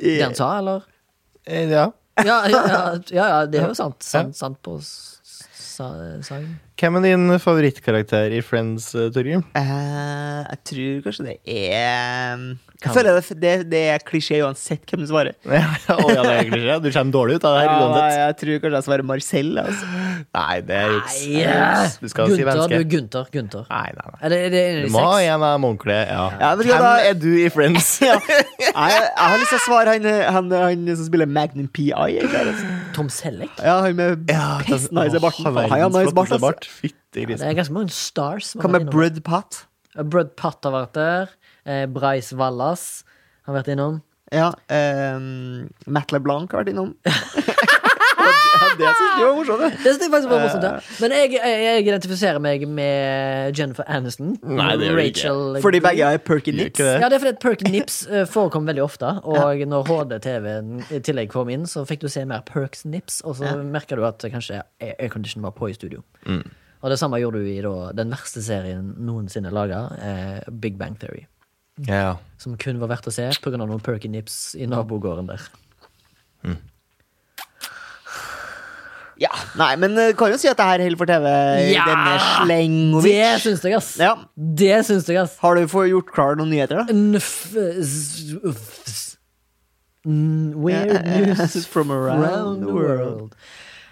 [SPEAKER 2] Det sånn- han sa, eller?
[SPEAKER 3] Eh, Ja.
[SPEAKER 2] Ja, ja, ja, ja, ja det er jo sant. Sant, sant på s- sa- sangen.
[SPEAKER 3] Hvem er din favorittkarakter i Friends, eh, Torgrim?
[SPEAKER 1] Eh, jeg tror kanskje det er eh, Jeg føler det, det, det er klisjé uansett hvem som svarer.
[SPEAKER 3] Å ja, det er egentlig ikke. Du kommer dårlig ut av det her
[SPEAKER 1] Ja, nei,
[SPEAKER 3] uansett.
[SPEAKER 1] jeg tror kanskje jeg svarer Marcel. Altså.
[SPEAKER 3] Nei, det er juks. Det er
[SPEAKER 2] Yeah.
[SPEAKER 3] juks. Du skal si
[SPEAKER 2] Gunther,
[SPEAKER 3] venske.
[SPEAKER 2] du er Gunther. Gunther.
[SPEAKER 3] Nei, nei, nei.
[SPEAKER 2] Er det, er det en av
[SPEAKER 3] Du
[SPEAKER 2] de
[SPEAKER 3] må ha
[SPEAKER 2] seks?
[SPEAKER 3] en av munkle, ja.
[SPEAKER 1] Ja, men
[SPEAKER 3] Hvem
[SPEAKER 1] da-
[SPEAKER 3] er du i Friends?
[SPEAKER 1] Jeg, jeg har lyst til å svare han, han, han som spiller Magnum PI. egentlig, altså.
[SPEAKER 2] Tom Selleck?
[SPEAKER 1] Ja, han med pest nice barten. Faen, Han har nice bart. altså.
[SPEAKER 3] Fytti
[SPEAKER 2] Det er ganske mange stars. som
[SPEAKER 1] Hva
[SPEAKER 2] har vært
[SPEAKER 1] med
[SPEAKER 2] innom.
[SPEAKER 1] Brud Pat?
[SPEAKER 2] Eh, Brad Patt har vært der. Eh, Bryce Wallas har vært innom.
[SPEAKER 1] Ja, ehm, Matt LeBlanc har vært innom. ja, det ja, det synes jeg var morsomt.
[SPEAKER 2] Det synes jeg faktisk var morsomt. ja.
[SPEAKER 3] Eh.
[SPEAKER 2] Men jeg, jeg, jeg identifiserer meg med Jennifer Aniston.
[SPEAKER 3] Nei, det gjør du ikke.
[SPEAKER 2] Rachel
[SPEAKER 1] det. Fordi begge er perky
[SPEAKER 3] Gjør
[SPEAKER 1] nips.
[SPEAKER 3] ikke det?
[SPEAKER 2] Ja, det er fordi at Perk Nips eh, forekom veldig ofte. Og når HD-TV-en i tillegg kom inn, så fikk du se mer Perks Nips, og så merka du at kanskje air- aircondition var på i studio.
[SPEAKER 3] Mm.
[SPEAKER 2] Og det samme gjorde du i da, den verste serien noensinne laga, eh, Big Bang Theory.
[SPEAKER 3] Ja.
[SPEAKER 2] Som kun var verdt å se pga. noen Perky Nips i nabogården der.
[SPEAKER 1] Ja, nei, men eh, kan jo si at det her holder for TV.
[SPEAKER 2] Ja!
[SPEAKER 1] Denne
[SPEAKER 2] Det
[SPEAKER 1] slengovic.
[SPEAKER 2] syns jeg, ass!
[SPEAKER 1] Ja.
[SPEAKER 2] Det syns jeg, ass.
[SPEAKER 1] Har du fått gjort klar noen nyheter, da?
[SPEAKER 2] N- f- s- f- s- n- Weird news
[SPEAKER 1] From around the world.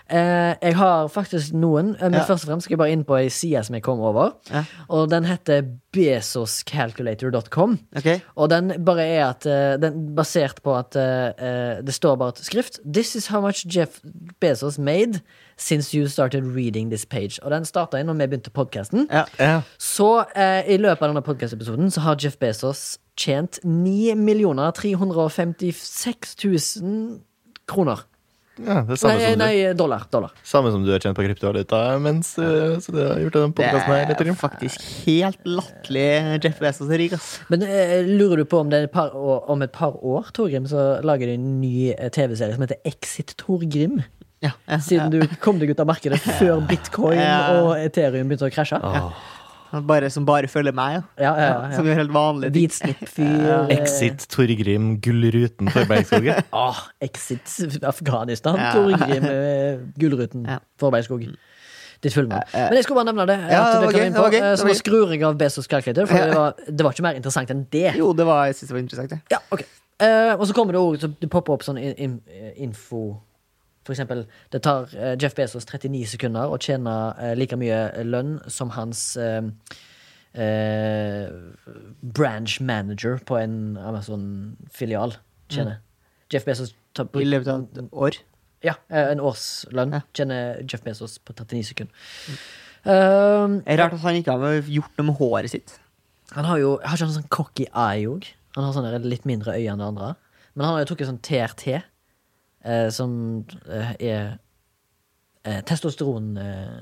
[SPEAKER 2] Eh, jeg har faktisk noen, eh, men
[SPEAKER 1] Ja.
[SPEAKER 2] først og fremst skal jeg bare inn på ei side som jeg kom over.
[SPEAKER 1] Ja.
[SPEAKER 2] Og den heter bezoscalculator.com.
[SPEAKER 1] Ok.
[SPEAKER 2] Og den bare er at eh, Den basert på at eh, eh, det står bare et skrift. This is how much Jeff Bezos made since you started reading this page. Og den starta når vi begynte podkasten.
[SPEAKER 1] Ja.
[SPEAKER 3] Ja.
[SPEAKER 2] Så eh, i løpet av denne podcastepisoden så har Jeff Bezos tjent 9 356 000 kroner.
[SPEAKER 3] ja, det
[SPEAKER 2] Nei,
[SPEAKER 3] er samme som
[SPEAKER 2] nei,
[SPEAKER 3] du.
[SPEAKER 2] dollar. dollar.
[SPEAKER 3] Samme som du har tjent på kryptovaluta mens eh, Så du har gjort den
[SPEAKER 1] Det
[SPEAKER 3] podkasten her.
[SPEAKER 1] er
[SPEAKER 3] Torgrim.
[SPEAKER 1] faktisk helt latterlig eh, Jeff Bezos er rik, ass.
[SPEAKER 2] Men eh, lurer du på om det er et par år, om et par år, Torgrim, så lager de en ny eh, TV-serie som heter Exit Torgrim?
[SPEAKER 1] Ja, ja,
[SPEAKER 2] Siden du kom deg ut av markedet før bitcoin
[SPEAKER 1] Ja.
[SPEAKER 2] og Ethereum begynte å krasje.
[SPEAKER 1] Han Bare, som bare følger meg, ja.
[SPEAKER 2] Ja, ja, ja.
[SPEAKER 1] Som gjør helt vanlige ting.
[SPEAKER 2] Hvit snippfyr. eh,
[SPEAKER 3] Exit Torgrim Gullruten for Bergskogen.
[SPEAKER 2] Ah, Exit Afghanistan,
[SPEAKER 1] Ja.
[SPEAKER 2] Torgrim eh, Gullruten
[SPEAKER 1] Ja. Mm.
[SPEAKER 2] Forbergskog. Ditt fullnavn. Men jeg skulle bare nevne det.
[SPEAKER 1] Ja,
[SPEAKER 2] at det
[SPEAKER 1] ok,
[SPEAKER 2] kom inn på.
[SPEAKER 1] det var gøy,
[SPEAKER 2] Eh,
[SPEAKER 1] det
[SPEAKER 2] Så nå
[SPEAKER 1] var gøy.
[SPEAKER 2] skrur jeg av Bezos Calculator, for det var, det var ikke mer interessant enn det.
[SPEAKER 1] Jo, det var, jeg synes det var interessant, det.
[SPEAKER 2] Ja, ok Eh, Og så kommer det også, det popper opp sånn in, in, info For eksempel, det tar eh, Jeff Bezos 39 sekunder å tjene eh, like mye lønn som hans eh, eh, branch manager på en Amazon-filial tjener. Jeff Bezos tar,
[SPEAKER 1] Mm. I løpet av et år.
[SPEAKER 2] ja, eh, en årslønn
[SPEAKER 1] Ja.
[SPEAKER 2] tjener Jeff Bezos på 39 sekunder. Ehm,
[SPEAKER 1] Det er Rart at han ikke har gjort noe med håret sitt.
[SPEAKER 2] han har jo Har ikke han sånn cocky eye òg? Han har sånne litt mindre øyne enn det andre. Men han har jo tatt sånn TRT. Eh, eh, som eh, er eh, testosteronkur.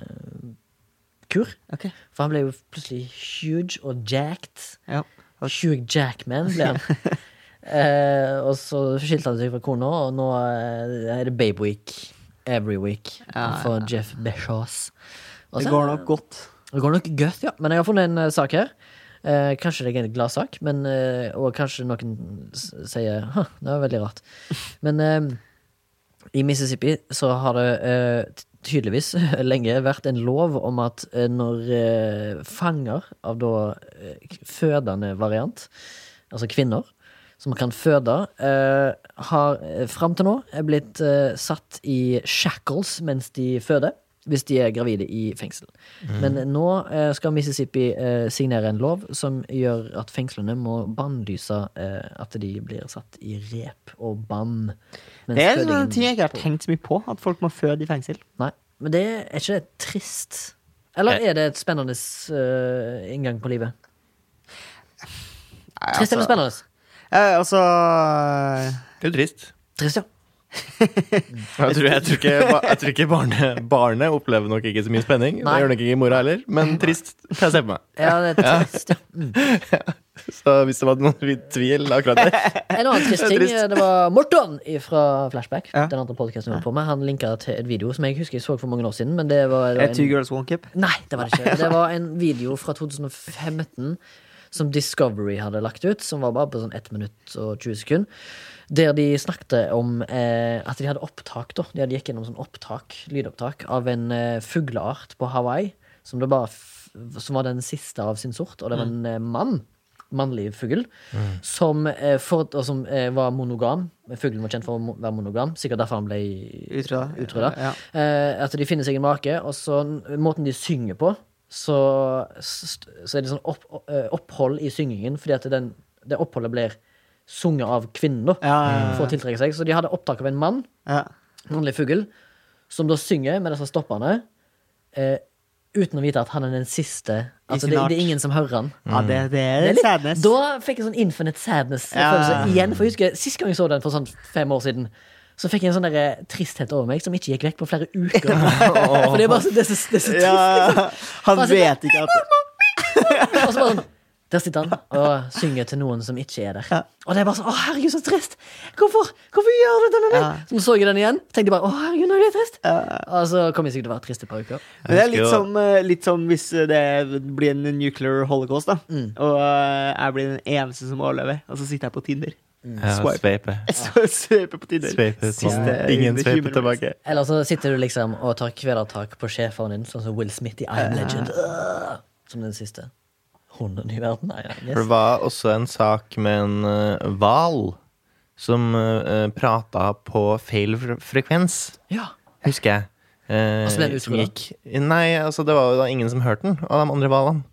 [SPEAKER 1] Ok.
[SPEAKER 2] For han ble jo plutselig huge og jacked.
[SPEAKER 1] Ja.
[SPEAKER 2] Hugh Jackman ble han. eh, og så skilte han seg fra kona, og nå eh, er det Babe Week. Every week
[SPEAKER 1] Ja,
[SPEAKER 2] for Jeff Bezos. Og
[SPEAKER 1] Det
[SPEAKER 2] så-
[SPEAKER 1] går nok godt.
[SPEAKER 2] det går nok gøtt, ja. Men jeg har funnet en eh, sak her. Eh, kanskje det er en gladsak, men eh, Og kanskje noen s sier Hå, det var veldig rart. Men eh, i Mississippi så har det eh, t- tydeligvis lenge vært en lov om at eh, når eh, fanger av da eh, k- fødende variant, altså kvinner, som kan føde, eh, har eh, fram til nå eh, blitt eh, satt i shackles mens de føder, hvis de er gravide i fengsel.
[SPEAKER 1] Mm.
[SPEAKER 2] Men nå eh, skal Mississippi eh, signere en lov som gjør at fengslene må bannlyse eh, at de blir satt i rep og bann. mens
[SPEAKER 1] Det er liksom
[SPEAKER 2] fødingen
[SPEAKER 1] en ting jeg ikke har
[SPEAKER 2] på-
[SPEAKER 1] tenkt så mye på, at folk må føde i fengsel.
[SPEAKER 2] Nei, men det er ikke det trist? Eller er det et spennende eh, inngang på livet?
[SPEAKER 1] Nei,
[SPEAKER 2] Trist eller
[SPEAKER 1] altså-
[SPEAKER 2] spennende?
[SPEAKER 1] Eh, altså eh,
[SPEAKER 3] Det er jo trist.
[SPEAKER 2] Trist, ja.
[SPEAKER 3] Jeg tror, jeg tror ikke, ba- jeg tror ikke barne, barnet opplever nok ikke så mye spenning.
[SPEAKER 2] Nei.
[SPEAKER 3] Det gjør nok ikke mora heller, men trist kan jeg se på meg.
[SPEAKER 2] Ja, det er trist, ja. Mm.
[SPEAKER 3] Så hvis det var noen tvil akkurat der
[SPEAKER 2] En annen trist ting,
[SPEAKER 3] Trist.
[SPEAKER 2] det var Morton fra Flashback.
[SPEAKER 1] Ja.
[SPEAKER 2] Den andre podcasten vi holdt på med Han linka til et video som jeg husker jeg så for mange år siden. Men det var
[SPEAKER 1] eh, Two
[SPEAKER 2] en,
[SPEAKER 1] girls, one cup.
[SPEAKER 2] Nei, det var det ikke. Det var en video fra 2015 som Discovery hadde lagt ut, som var bare på sånn 1 minutt og 20 sekunder. Der de snakket om eh, at de hadde opptak, da. De hadde gikk gjennom sånn opptak, lydopptak av en eh, fugleart på Hawaii som, det bare f som var den siste av sin sort, og det var en eh, mann. Mannlig fugl. Som, eh, for, og som eh, var monogam. Fuglen var kjent for å mo- være monogam. Sikkert derfor han ble
[SPEAKER 1] Utrydda.
[SPEAKER 2] utrydda.
[SPEAKER 1] Ja.
[SPEAKER 2] Eh, at de finner seg en make, og så n- måten de synger på, så, s- så er det sånn opp, eh, opphold i syngingen, fordi at den, det oppholdet blir sunget av kvinnen, da,
[SPEAKER 1] Ja, ja, ja.
[SPEAKER 2] for å tiltrekke seg. Så de hadde opptak av en mann,
[SPEAKER 1] Ja.
[SPEAKER 2] mannlig fugl, som da synger med disse stoppene, eh, uten å vite at han er den siste.
[SPEAKER 1] I
[SPEAKER 2] Altså,
[SPEAKER 1] sin
[SPEAKER 2] det,
[SPEAKER 1] art.
[SPEAKER 2] det er ingen som hører han.
[SPEAKER 1] ja, det, det er
[SPEAKER 2] Det er
[SPEAKER 1] litt
[SPEAKER 2] litt-
[SPEAKER 1] sadness.
[SPEAKER 2] Da fikk jeg sånn infinite sadness-følelse
[SPEAKER 1] Ja.
[SPEAKER 2] igjen. For jeg husker Sist gang jeg så den, for sånn fem år siden, så fikk jeg en sånn der tristhet over meg som ikke gikk vekk på flere uker. For det er bare så, det er så, det er så trist.
[SPEAKER 1] Ja, han
[SPEAKER 2] Altså,
[SPEAKER 1] vet ikke at
[SPEAKER 2] Og så bare sånn Der sitter han og synger til noen som ikke er der. Og det er bare sånn Å, herregud, så trist! Hvorfor Hvorfor gjør du dette med meg?
[SPEAKER 1] Ja.
[SPEAKER 2] Så så jeg den igjen, tenkte bare Å, herregud, nå er jeg trist. Og så kom jeg sikkert til å være trist et par uker.
[SPEAKER 1] Men Det er
[SPEAKER 3] Jeg
[SPEAKER 1] litt
[SPEAKER 3] husker jo-
[SPEAKER 1] som, eh, litt som hvis det blir en nuclear holocaust, da.
[SPEAKER 2] Mm.
[SPEAKER 1] Og eh, jeg blir den eneste som overlever, og så sitter jeg på Tinder. Swipe.
[SPEAKER 3] Sveipe.
[SPEAKER 1] Så sveiper på Tinder.
[SPEAKER 3] Sveipe ut
[SPEAKER 1] Siste
[SPEAKER 3] mannen. Ingen
[SPEAKER 1] human
[SPEAKER 3] sveiper
[SPEAKER 1] rights.
[SPEAKER 3] tilbake.
[SPEAKER 2] Eller så sitter du liksom og tar kvelertak på sjefen din, sånn som Will Smith i I'm Legend. Øh! Som den siste hunden i verden. Nei, ja,
[SPEAKER 3] For det
[SPEAKER 2] yes.
[SPEAKER 3] var også en sak med en eh, hval som uh, prata på feil fre- frekvens.
[SPEAKER 2] ja.
[SPEAKER 3] husker jeg. Eh,
[SPEAKER 2] Og så ble Altså, den
[SPEAKER 3] som
[SPEAKER 2] utrydda?
[SPEAKER 3] gikk. Nei, altså det var jo da ingen som hørte den, av de andre hvalene.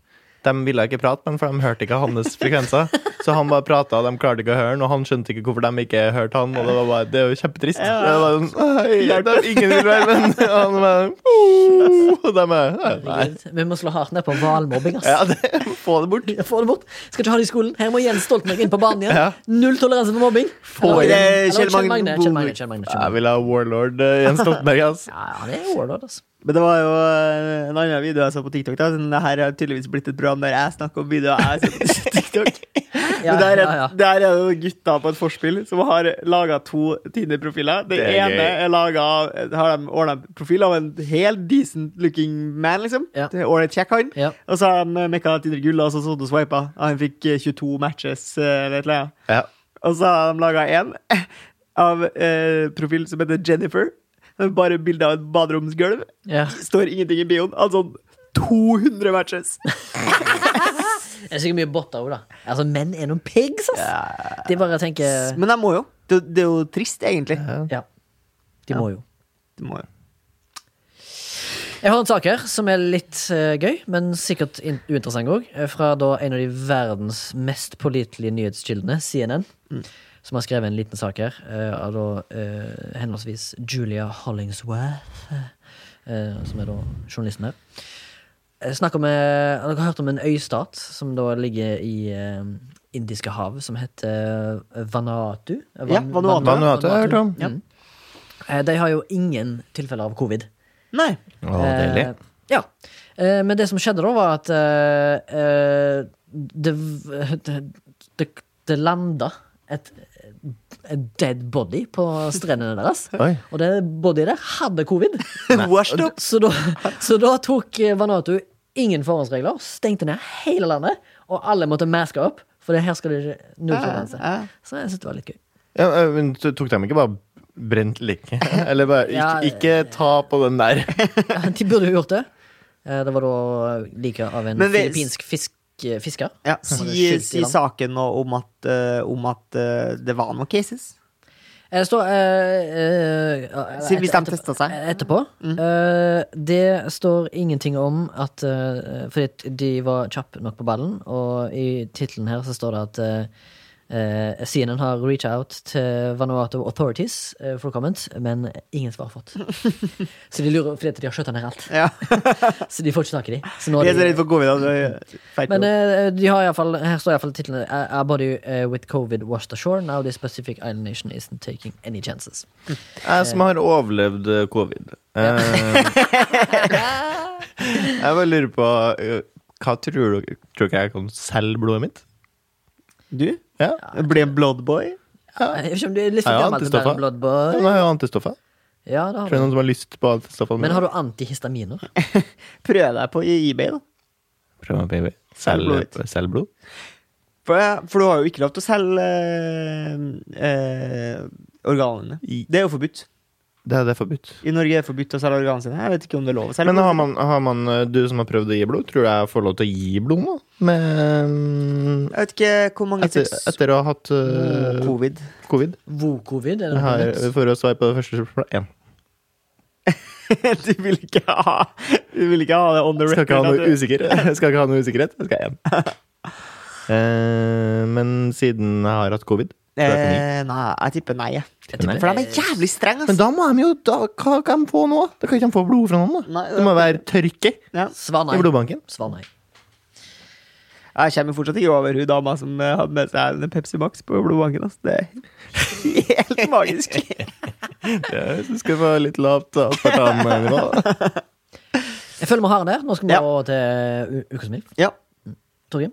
[SPEAKER 3] De ville ikke prate med ham, for de hørte ikke hans frekvenser. Så han bare prata, og de klarte ikke å høre han, og han skjønte ikke hvorfor de ikke hørte han. Og det var bare, det er jo kjempetrist. Det var sånn, «Ei, det er ingen vil være venn. Og han bare «Oh», Og de bare Nei.
[SPEAKER 2] Herregud. Vi må slå hardt ned på hvalmobbing, ass.
[SPEAKER 3] Ja, det, få det bort.
[SPEAKER 2] Få det bort. Skal ikke ha det i skolen. Her må Jens Stoltenberg inn på banen igjen.
[SPEAKER 3] Ja.
[SPEAKER 2] Null toleranse for mobbing.
[SPEAKER 1] inn
[SPEAKER 2] Eller- eller
[SPEAKER 1] Kjell
[SPEAKER 2] Kjell
[SPEAKER 1] Magne
[SPEAKER 2] Magne. Kjell Magne, Kjell
[SPEAKER 3] Jeg
[SPEAKER 2] Magne.
[SPEAKER 3] vil ha warlord eh, Jens Stoltenberg, ass.
[SPEAKER 2] Ja, ja, det er warlord, ass.
[SPEAKER 1] Men det var jo eh, en annen video jeg så på TikTok. da Den her har tydeligvis blitt et program der jeg snakker om videoer jeg ser på TikTok.
[SPEAKER 2] Ja,
[SPEAKER 1] Men der, er,
[SPEAKER 2] ja, ja.
[SPEAKER 1] der er det noen gutter på et forspill som har laga to Tinder-profiler. Den
[SPEAKER 3] Det er
[SPEAKER 1] ene
[SPEAKER 3] gøy.
[SPEAKER 1] er laget av eh, Har de ordna profil av en helt decent looking man, liksom.
[SPEAKER 2] Ja.
[SPEAKER 1] Det er Ålreit kjekk han.
[SPEAKER 2] Ja.
[SPEAKER 1] Og så har de eh, mekka Tinder gull, og så satt og swipa. Og han fikk eh, 22 matches eh, eller et eller annet.
[SPEAKER 3] Ja.
[SPEAKER 1] Og så har de laga en av eh, profil som heter Jennifer. Det er Bare bilde av et baderomsgulv.
[SPEAKER 2] Ja.
[SPEAKER 1] Står ingenting i bioen. Altså 200 matches!
[SPEAKER 2] Det er sikkert mye botter òg, da. Altså, menn er noen pigs, ass. De bare
[SPEAKER 3] Eh.
[SPEAKER 2] tenker
[SPEAKER 1] Men de må jo. Det, det er jo trist, egentlig.
[SPEAKER 2] Ja. De må jo.
[SPEAKER 1] De må jo.
[SPEAKER 2] Jeg har en sak her som er litt eh, gøy, men sikkert in uinteressant òg. Fra da en av de verdens mest pålitelige nyhetskildene, CNN,
[SPEAKER 1] Mm.
[SPEAKER 2] som har skrevet en liten sak her eh, av da eh, henholdsvis Julia Hollingsworth, eh, som er da journalisten her. Eh, Snakk om eh, Dere har hørt om en øystat som da ligger i eh, Indiske hav, som heter eh, Vanuatu?
[SPEAKER 1] Ja, Vanuatu.
[SPEAKER 3] Vanuatu har jeg hørt om.
[SPEAKER 2] Mm. Eh, De har jo ingen tilfeller av covid.
[SPEAKER 1] Nei.
[SPEAKER 3] Å, deilig.
[SPEAKER 2] Eh, ja. Eh, men det som skjedde da, var at eh, eh, det, v- det, det, det landa et, et dead body på strendene deres.
[SPEAKER 3] Oi.
[SPEAKER 2] Og det bodyet der hadde covid.
[SPEAKER 1] Washed up.
[SPEAKER 2] Så da, så da tok eh, Vanuatu ingen forhåndsregler, stengte ned hele landet, og alle måtte maske opp. For det her skal det ikke null toleranse.
[SPEAKER 1] Ja, ja.
[SPEAKER 2] Så jeg syns det var litt gøy.
[SPEAKER 3] Ja, eh, men t- tok de ikke bare brent like? Eller bare ikke,
[SPEAKER 2] Ja, eh.
[SPEAKER 3] ikke ta på den der.
[SPEAKER 2] Ja, de burde jo gjort det. Eh, Det var da like av en
[SPEAKER 1] Men vi-
[SPEAKER 2] filippinsk fisk, eh, fisker.
[SPEAKER 1] Ja,
[SPEAKER 2] Som hadde
[SPEAKER 1] si,
[SPEAKER 2] skylt i
[SPEAKER 1] si
[SPEAKER 2] land.
[SPEAKER 1] saken nå om at, eh, om at eh, det var noen cases.
[SPEAKER 2] Det står eh, eh,
[SPEAKER 1] Si hvis de
[SPEAKER 2] etter-
[SPEAKER 1] testa seg.
[SPEAKER 2] Etterpå.
[SPEAKER 1] Mm.
[SPEAKER 2] Eh, det står ingenting om at eh, Fordi at de var kjappe nok på ballen, og i tittelen her så står det at eh, eh, CNN har reached out til Vanuatu authorities eh, for comment, men ingen svar fått. så de lurer fordi at de har skjøtta ned alt.
[SPEAKER 1] Ja.
[SPEAKER 2] Så de får ikke tak i dem. Så nå
[SPEAKER 1] Vi
[SPEAKER 2] har
[SPEAKER 1] er så
[SPEAKER 2] de,
[SPEAKER 1] redd for covid. Altså. Feit
[SPEAKER 2] men
[SPEAKER 1] nå.
[SPEAKER 2] eh, de har i alle fall, her står iallfall tittelen "A a body eh, with covid washed ashore. Now this specific island nation isn't taking any chances.
[SPEAKER 3] Jeg som har overlevd eh, covid. Eh, jeg bare lurer på eh, Hva tror du Tror ikke jeg kan selge blodet mitt?
[SPEAKER 1] du?
[SPEAKER 3] Ja,
[SPEAKER 1] Ble en bloodboy?
[SPEAKER 2] Jeg vet ikke om du er litt
[SPEAKER 3] Ja,
[SPEAKER 2] for
[SPEAKER 3] ja,
[SPEAKER 2] gammel til å være en
[SPEAKER 3] antistoffer.
[SPEAKER 2] blood boy.
[SPEAKER 3] Nå har jeg antistoffer.
[SPEAKER 2] Ja, det har
[SPEAKER 3] Tror du
[SPEAKER 2] du.
[SPEAKER 3] noen som har lyst på antistoffene?
[SPEAKER 2] Men
[SPEAKER 3] mine?
[SPEAKER 2] har du antihistaminer?
[SPEAKER 1] Prøv deg på i eBay, da.
[SPEAKER 3] Prøv meg, baby.
[SPEAKER 1] Selg blodet
[SPEAKER 3] Selg, selg blod.
[SPEAKER 1] For, for du har jo ikke lov til å selge eh, eh, organene. Det er jo forbudt.
[SPEAKER 3] Det er det er forbudt.
[SPEAKER 1] I Norge er det forbudt å selge organene sine. Jeg vet ikke om det er lov å selge.
[SPEAKER 3] Men har man, har man eh, Du som har prøvd å gi blod, tror du jeg får lov til å gi blod nå? Med mm,
[SPEAKER 1] Jeg vet ikke hvor mange
[SPEAKER 3] etter,
[SPEAKER 1] tips
[SPEAKER 3] etter å ha hatt eh,
[SPEAKER 1] Covid.
[SPEAKER 3] covid?
[SPEAKER 2] Vokovid? Er det
[SPEAKER 3] Jeg
[SPEAKER 2] noe
[SPEAKER 3] har,
[SPEAKER 2] nytt?
[SPEAKER 3] for å svare på det første spørsmålet én.
[SPEAKER 1] du, vil ikke ha, du vil ikke ha det on the
[SPEAKER 3] Skal
[SPEAKER 1] record.
[SPEAKER 3] ikke ha
[SPEAKER 1] at
[SPEAKER 3] noe
[SPEAKER 1] du-
[SPEAKER 3] usikker Jeg Skal ikke ha noe usikkerhet. Jeg skal hjem. Eh, men siden jeg har hatt covid så er det
[SPEAKER 1] Eh, nei, jeg tipper nei. jeg.
[SPEAKER 3] for mye.
[SPEAKER 1] For de er jævlig strenge,
[SPEAKER 3] Men
[SPEAKER 1] ass.
[SPEAKER 3] da må de jo da, Hva kan de få nå? Da kan ikke de få blod fra noen. da
[SPEAKER 1] Nei,
[SPEAKER 3] Det må være tørke
[SPEAKER 1] Ja.
[SPEAKER 2] Svar nei.
[SPEAKER 3] i blodbanken.
[SPEAKER 2] Svar nei.
[SPEAKER 1] Jeg kommer fortsatt ikke over hun dama som eh, hadde med seg en Pepsi Max på blodbanken. Ass. Det er helt magisk.
[SPEAKER 3] Ja, så skal vi ha litt lavt aspartamnivå.
[SPEAKER 2] Jeg føler vi har den der. Nå skal vi
[SPEAKER 1] Ja.
[SPEAKER 2] over til u- ukas milf.
[SPEAKER 1] Ja.
[SPEAKER 2] Torgrim?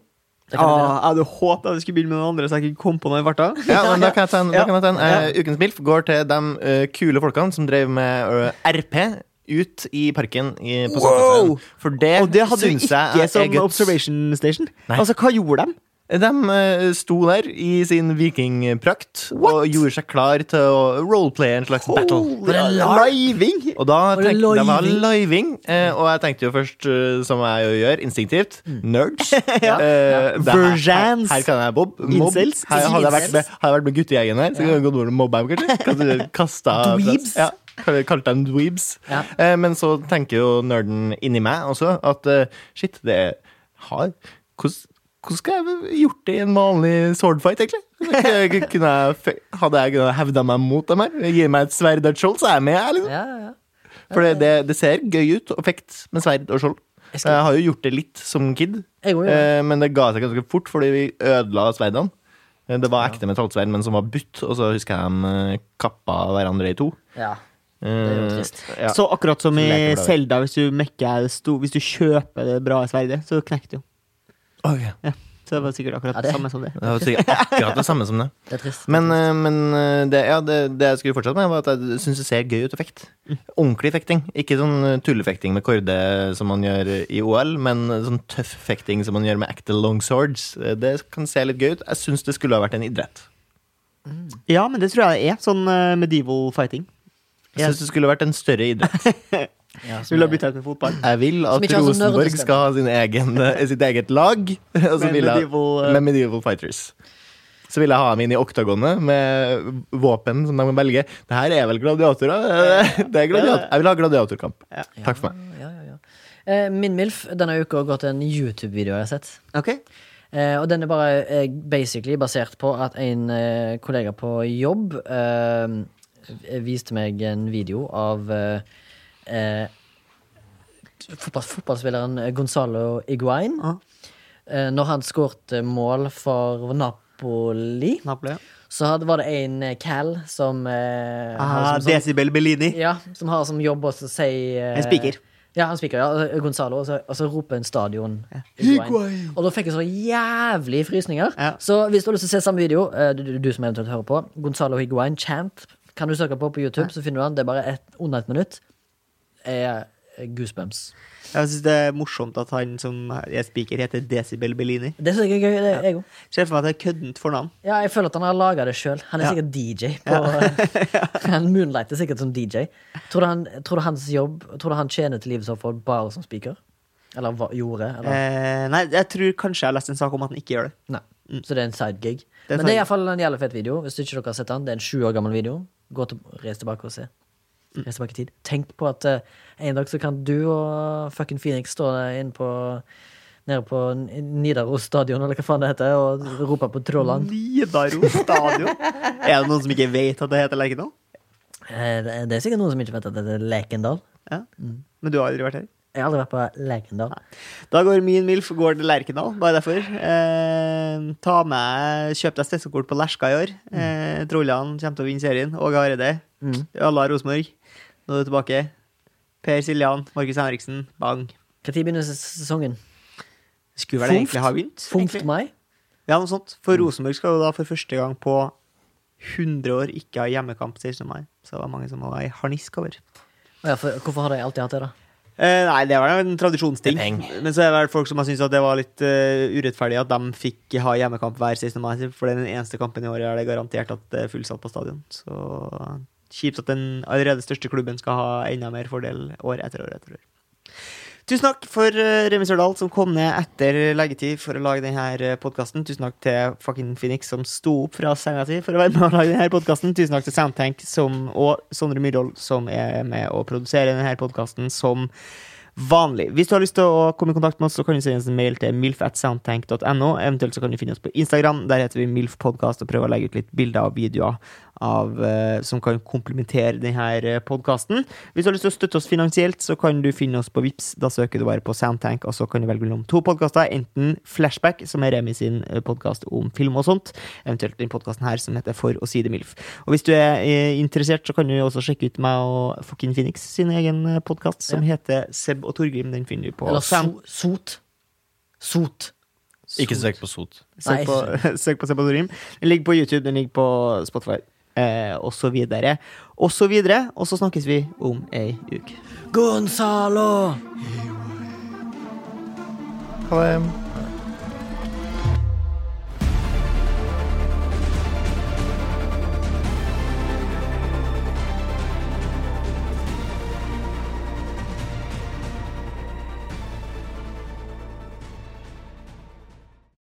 [SPEAKER 2] Det kan
[SPEAKER 1] Ah, jeg hadde håpet jeg skulle begynne med noen andre, så jeg ikke kom på noe i farta.
[SPEAKER 3] Ja, men da kan jeg ta en. Da
[SPEAKER 1] Ja.
[SPEAKER 3] kan jeg ta en. Eh, ukens MILF går til de eh, kule folkene som drev med eh, RP. Ut i parken i, på
[SPEAKER 1] Wow!
[SPEAKER 3] Sandnessjøen. For det,
[SPEAKER 1] Og det hadde eh, du
[SPEAKER 3] syns jeg
[SPEAKER 1] ikke
[SPEAKER 3] at er
[SPEAKER 1] som
[SPEAKER 3] guts.
[SPEAKER 1] observation station.
[SPEAKER 3] Nei.
[SPEAKER 1] Altså, hva gjorde de?
[SPEAKER 3] De eh, sto der i sin vikingprakt og gjorde seg klar til å roleplaye en slags battle.
[SPEAKER 1] Holy Living!
[SPEAKER 3] Og da
[SPEAKER 2] Var det
[SPEAKER 3] tenkte jeg det var
[SPEAKER 2] living?
[SPEAKER 3] living, eh, og jeg tenkte jo først, eh, som jeg jo gjør, instinktivt,
[SPEAKER 2] Mm.
[SPEAKER 3] nerds. Eh, det her-
[SPEAKER 1] Virgins.
[SPEAKER 3] Her, her kan jeg bob. mobb.
[SPEAKER 1] Incels.
[SPEAKER 3] Her hadde jeg vært med,
[SPEAKER 2] Incels.
[SPEAKER 3] hadde jeg vært med guttegjengen her, så kunne jeg gått over og mobba dem, kanskje. Kanskje kasta-
[SPEAKER 2] Dweebs.
[SPEAKER 3] Ja. Kall- Kalte dem dweebs.
[SPEAKER 2] Ja.
[SPEAKER 3] Eh, men så tenker jo nerden inni meg også at eh, shit, det er hard. Hvordan hvordan skulle jeg gjort det i en vanlig swordfight, egentlig? Kunne jeg, fe- hadde jeg kunnet hevda meg mot dem her? Gi meg et sverd og et skjold, så er jeg med, jeg, liksom.
[SPEAKER 2] Ja, ja, ja.
[SPEAKER 3] For det, det, det ser gøy ut å fekte med sverd og skjold.
[SPEAKER 2] Jeg
[SPEAKER 3] Jeg,
[SPEAKER 2] skal-
[SPEAKER 3] har jo gjort det litt som kid,
[SPEAKER 2] Jeg går jo.
[SPEAKER 3] eh, men det ga seg ganske fort fordi vi ødela sverdene. Eh, Det var ekte metallsverd, men som var butt, og så husker jeg de eh, kappa hverandre i to.
[SPEAKER 2] ja.
[SPEAKER 3] Eh,
[SPEAKER 2] er jo trist.
[SPEAKER 3] Ja.
[SPEAKER 1] Så akkurat som i
[SPEAKER 3] Leker da.
[SPEAKER 1] Selda, hvis du mekker det sto- Hvis du kjøper det bra sverdet, så knekker du jo.
[SPEAKER 3] Å, ja.
[SPEAKER 1] Ja. Så det var sikkert akkurat
[SPEAKER 2] Ja,
[SPEAKER 1] det samme som det.
[SPEAKER 3] Det var sikkert akkurat det samme som det.
[SPEAKER 2] Det er trist.
[SPEAKER 3] Men, eh, men eh, det, ja, det, det jeg skulle fortsette med, var at jeg syns det ser gøy ut å fekte.
[SPEAKER 2] Mm.
[SPEAKER 3] Ordentlig fekting. Ikke sånn eh, tullefekting med korde som man gjør i OL, men sånn tøff fekting som man gjør med ekte longswords. Eh, Det kan se litt gøy ut. Jeg syns det skulle ha vært en idrett.
[SPEAKER 1] Ja, men det tror jeg det er. Sånn eh, medieval fighting.
[SPEAKER 3] Jeg syns det skulle vært en større idrett.
[SPEAKER 2] Ja,
[SPEAKER 1] Du
[SPEAKER 2] som
[SPEAKER 1] vil ha
[SPEAKER 2] er-
[SPEAKER 1] bytta ut med fotball.
[SPEAKER 3] Jeg vil
[SPEAKER 2] Som
[SPEAKER 3] at
[SPEAKER 2] ikke har sånn
[SPEAKER 3] Rosenborg
[SPEAKER 2] nerdestemme.
[SPEAKER 3] skal ha sin egen, eh, sitt eget lag. Og så
[SPEAKER 1] Med
[SPEAKER 3] vil jeg,
[SPEAKER 1] medieval, eh,
[SPEAKER 3] med medieval fighters. Så vil jeg ha dem inn i oktagonet med våpen som de kan velge. Det her er vel gladiatorer? Det er gladiator. Jeg vil ha gladiatorkamp. Takk for meg.
[SPEAKER 2] Ja, ja, ja. Eh, Min milf denne uka går til en YouTube-video jeg har sett.
[SPEAKER 1] Ok.
[SPEAKER 2] Eh, og den er bare eh, basically basert på at en eh, kollega på jobb eh, viste meg en video av eh, eh, fotball, fotballspilleren Gonzalo Iguain.
[SPEAKER 1] Ja.
[SPEAKER 2] Eh, når han skårte mål for Napoli,
[SPEAKER 1] Napoli.
[SPEAKER 2] Så hadde, var det en eh, cal som, eh,
[SPEAKER 1] Ah,
[SPEAKER 2] har som, som
[SPEAKER 1] Decibel Bellini.
[SPEAKER 2] Ja, som har som jobb å si eh,
[SPEAKER 1] En spiker.
[SPEAKER 2] Ja, en spiker, ja, og- og Gonzalo. Og så, og så roper en stadion Higuain. Og da fikk jeg så jævlig frysninger.
[SPEAKER 1] Ja.
[SPEAKER 2] Så hvis du har lyst til å se samme video, eh, du, du, du som eventuelt hører på, Gonzalo Higuain chant, kan du søke på på YouTube, så finner du han. Det er bare et, under et minutt. Er goosebumps.
[SPEAKER 1] Jeg syns det er morsomt at han som er spiker, heter Decibel Bellini.
[SPEAKER 2] Det syns jeg er gøy. Det er jeg òg.
[SPEAKER 1] Ser for meg at det er køddent fornavn.
[SPEAKER 2] Ja, jeg føler at han har laga det sjøl. Han er
[SPEAKER 1] Ja.
[SPEAKER 2] sikkert DJ. På, han moonlighter sikkert som DJ. Tror du, han, tror du hans jobb Tror du han tjener til livets opphold bare som speaker? Eller hva, gjorde? Eller?
[SPEAKER 1] Eh, nei, jeg tror kanskje jeg har lest en sak om at han ikke gjør det.
[SPEAKER 2] Nei. Så det er en sidegig.
[SPEAKER 1] mm. er
[SPEAKER 2] Men det
[SPEAKER 1] side-
[SPEAKER 2] er iallfall en jævlig fet video. Hvis ikke dere har sett den, Det er en sju år gammel video. Gå til, Reis tilbake og se.
[SPEAKER 1] Mm.
[SPEAKER 2] Reis tilbake i tid. Tenk på at eh, en dag så kan du og fucking Phoenix stå der inne på Nede på N- Nidaros stadion, eller hva faen det heter, og rope på
[SPEAKER 1] Mm.
[SPEAKER 2] trollene.
[SPEAKER 1] Nidaros stadion. er det noen som ikke vet at det heter Lerkendal?
[SPEAKER 2] Eh, Det det er sikkert noen som ikke vet at det er Lekendal.
[SPEAKER 1] Ja. Men du har aldri vært her?
[SPEAKER 2] Jeg har aldri vært på Lekendal.
[SPEAKER 1] Da går min MILF går til Lerkendal, bare derfor. Eh, ta med Kjøp deg stessekort på Lerska i år.
[SPEAKER 2] Mm.
[SPEAKER 1] Eh, Trollene kommer til å vinne serien. Åge Hareide. Mm. Alla Rosenborg. Nå er du tilbake. Per Siljan, Markus Henriksen. Bang.
[SPEAKER 2] Når begynner ses- sesongen?
[SPEAKER 1] Skulle vel det
[SPEAKER 2] Fomft?
[SPEAKER 1] egentlig ha begynt?
[SPEAKER 2] Funkt Mm.
[SPEAKER 1] egentlig.
[SPEAKER 2] mai?
[SPEAKER 1] Ja, noe sånt. For Rosenborg skal jo da for første gang på 100 år ikke ha hjemmekamp 16. mai. Så det var mange som var i harnisk over.
[SPEAKER 2] Å Ja, for, hvorfor har de alltid hatt det, da?
[SPEAKER 1] Eh, nei, det var en tradisjonsting.
[SPEAKER 3] Det er
[SPEAKER 1] Men så er det vel folk som har syntes at det var litt eh, urettferdig at de fikk ha hjemmekamp hver 16. mai, for det er den eneste kampen i året er det garantert at det er fullsatt på stadion. Så kjipt at den allerede største klubben skal ha enda mer fordel år etter år etter år. Tusen takk for eh, Remi Sørdal som kom ned etter leggetid for å lage denne podkasten. Tusen takk til fucking Phoenix som sto opp fra senga si for å være med og lage denne podkasten. Tusen takk til Soundtank som, og Sondre Myhrvold som er med å produsere denne podkasten som vanlig. Hvis du har lyst til å komme i kontakt med oss, så kan du sende oss en mail til milfatsoundtank.no. Eventuelt så kan du finne oss på Instagram. Der heter vi milfpodkast og prøver å legge ut litt bilder og videoer av, eh, som kan komplementere denne podkasten. Hvis du har lyst til å støtte oss finansielt, så kan du finne oss på Vips. Da søker du bare på Soundtank, og så kan du velge mellom to podkaster. Enten Flashback, som er Remi sin podkast om film og sånt, eventuelt den podkasten her som heter For å si det milf. Og hvis du er eh, interessert, så kan du jo også sjekke ut meg og Fucking Phoenix sin egen podkast, som heter Seb og Torgrim. Den finner du på
[SPEAKER 2] Eller
[SPEAKER 1] Sound-
[SPEAKER 2] so, sot? Sot.
[SPEAKER 3] Ikke søk på sot.
[SPEAKER 1] Søk
[SPEAKER 2] Nei,
[SPEAKER 1] på, søk på Sepatorim. Den ligger på YouTube, den ligger på Spotify, eh, og så videre. Og så videre. Og så snakkes vi om ei uke.
[SPEAKER 2] Gonzalo!
[SPEAKER 3] Ha det.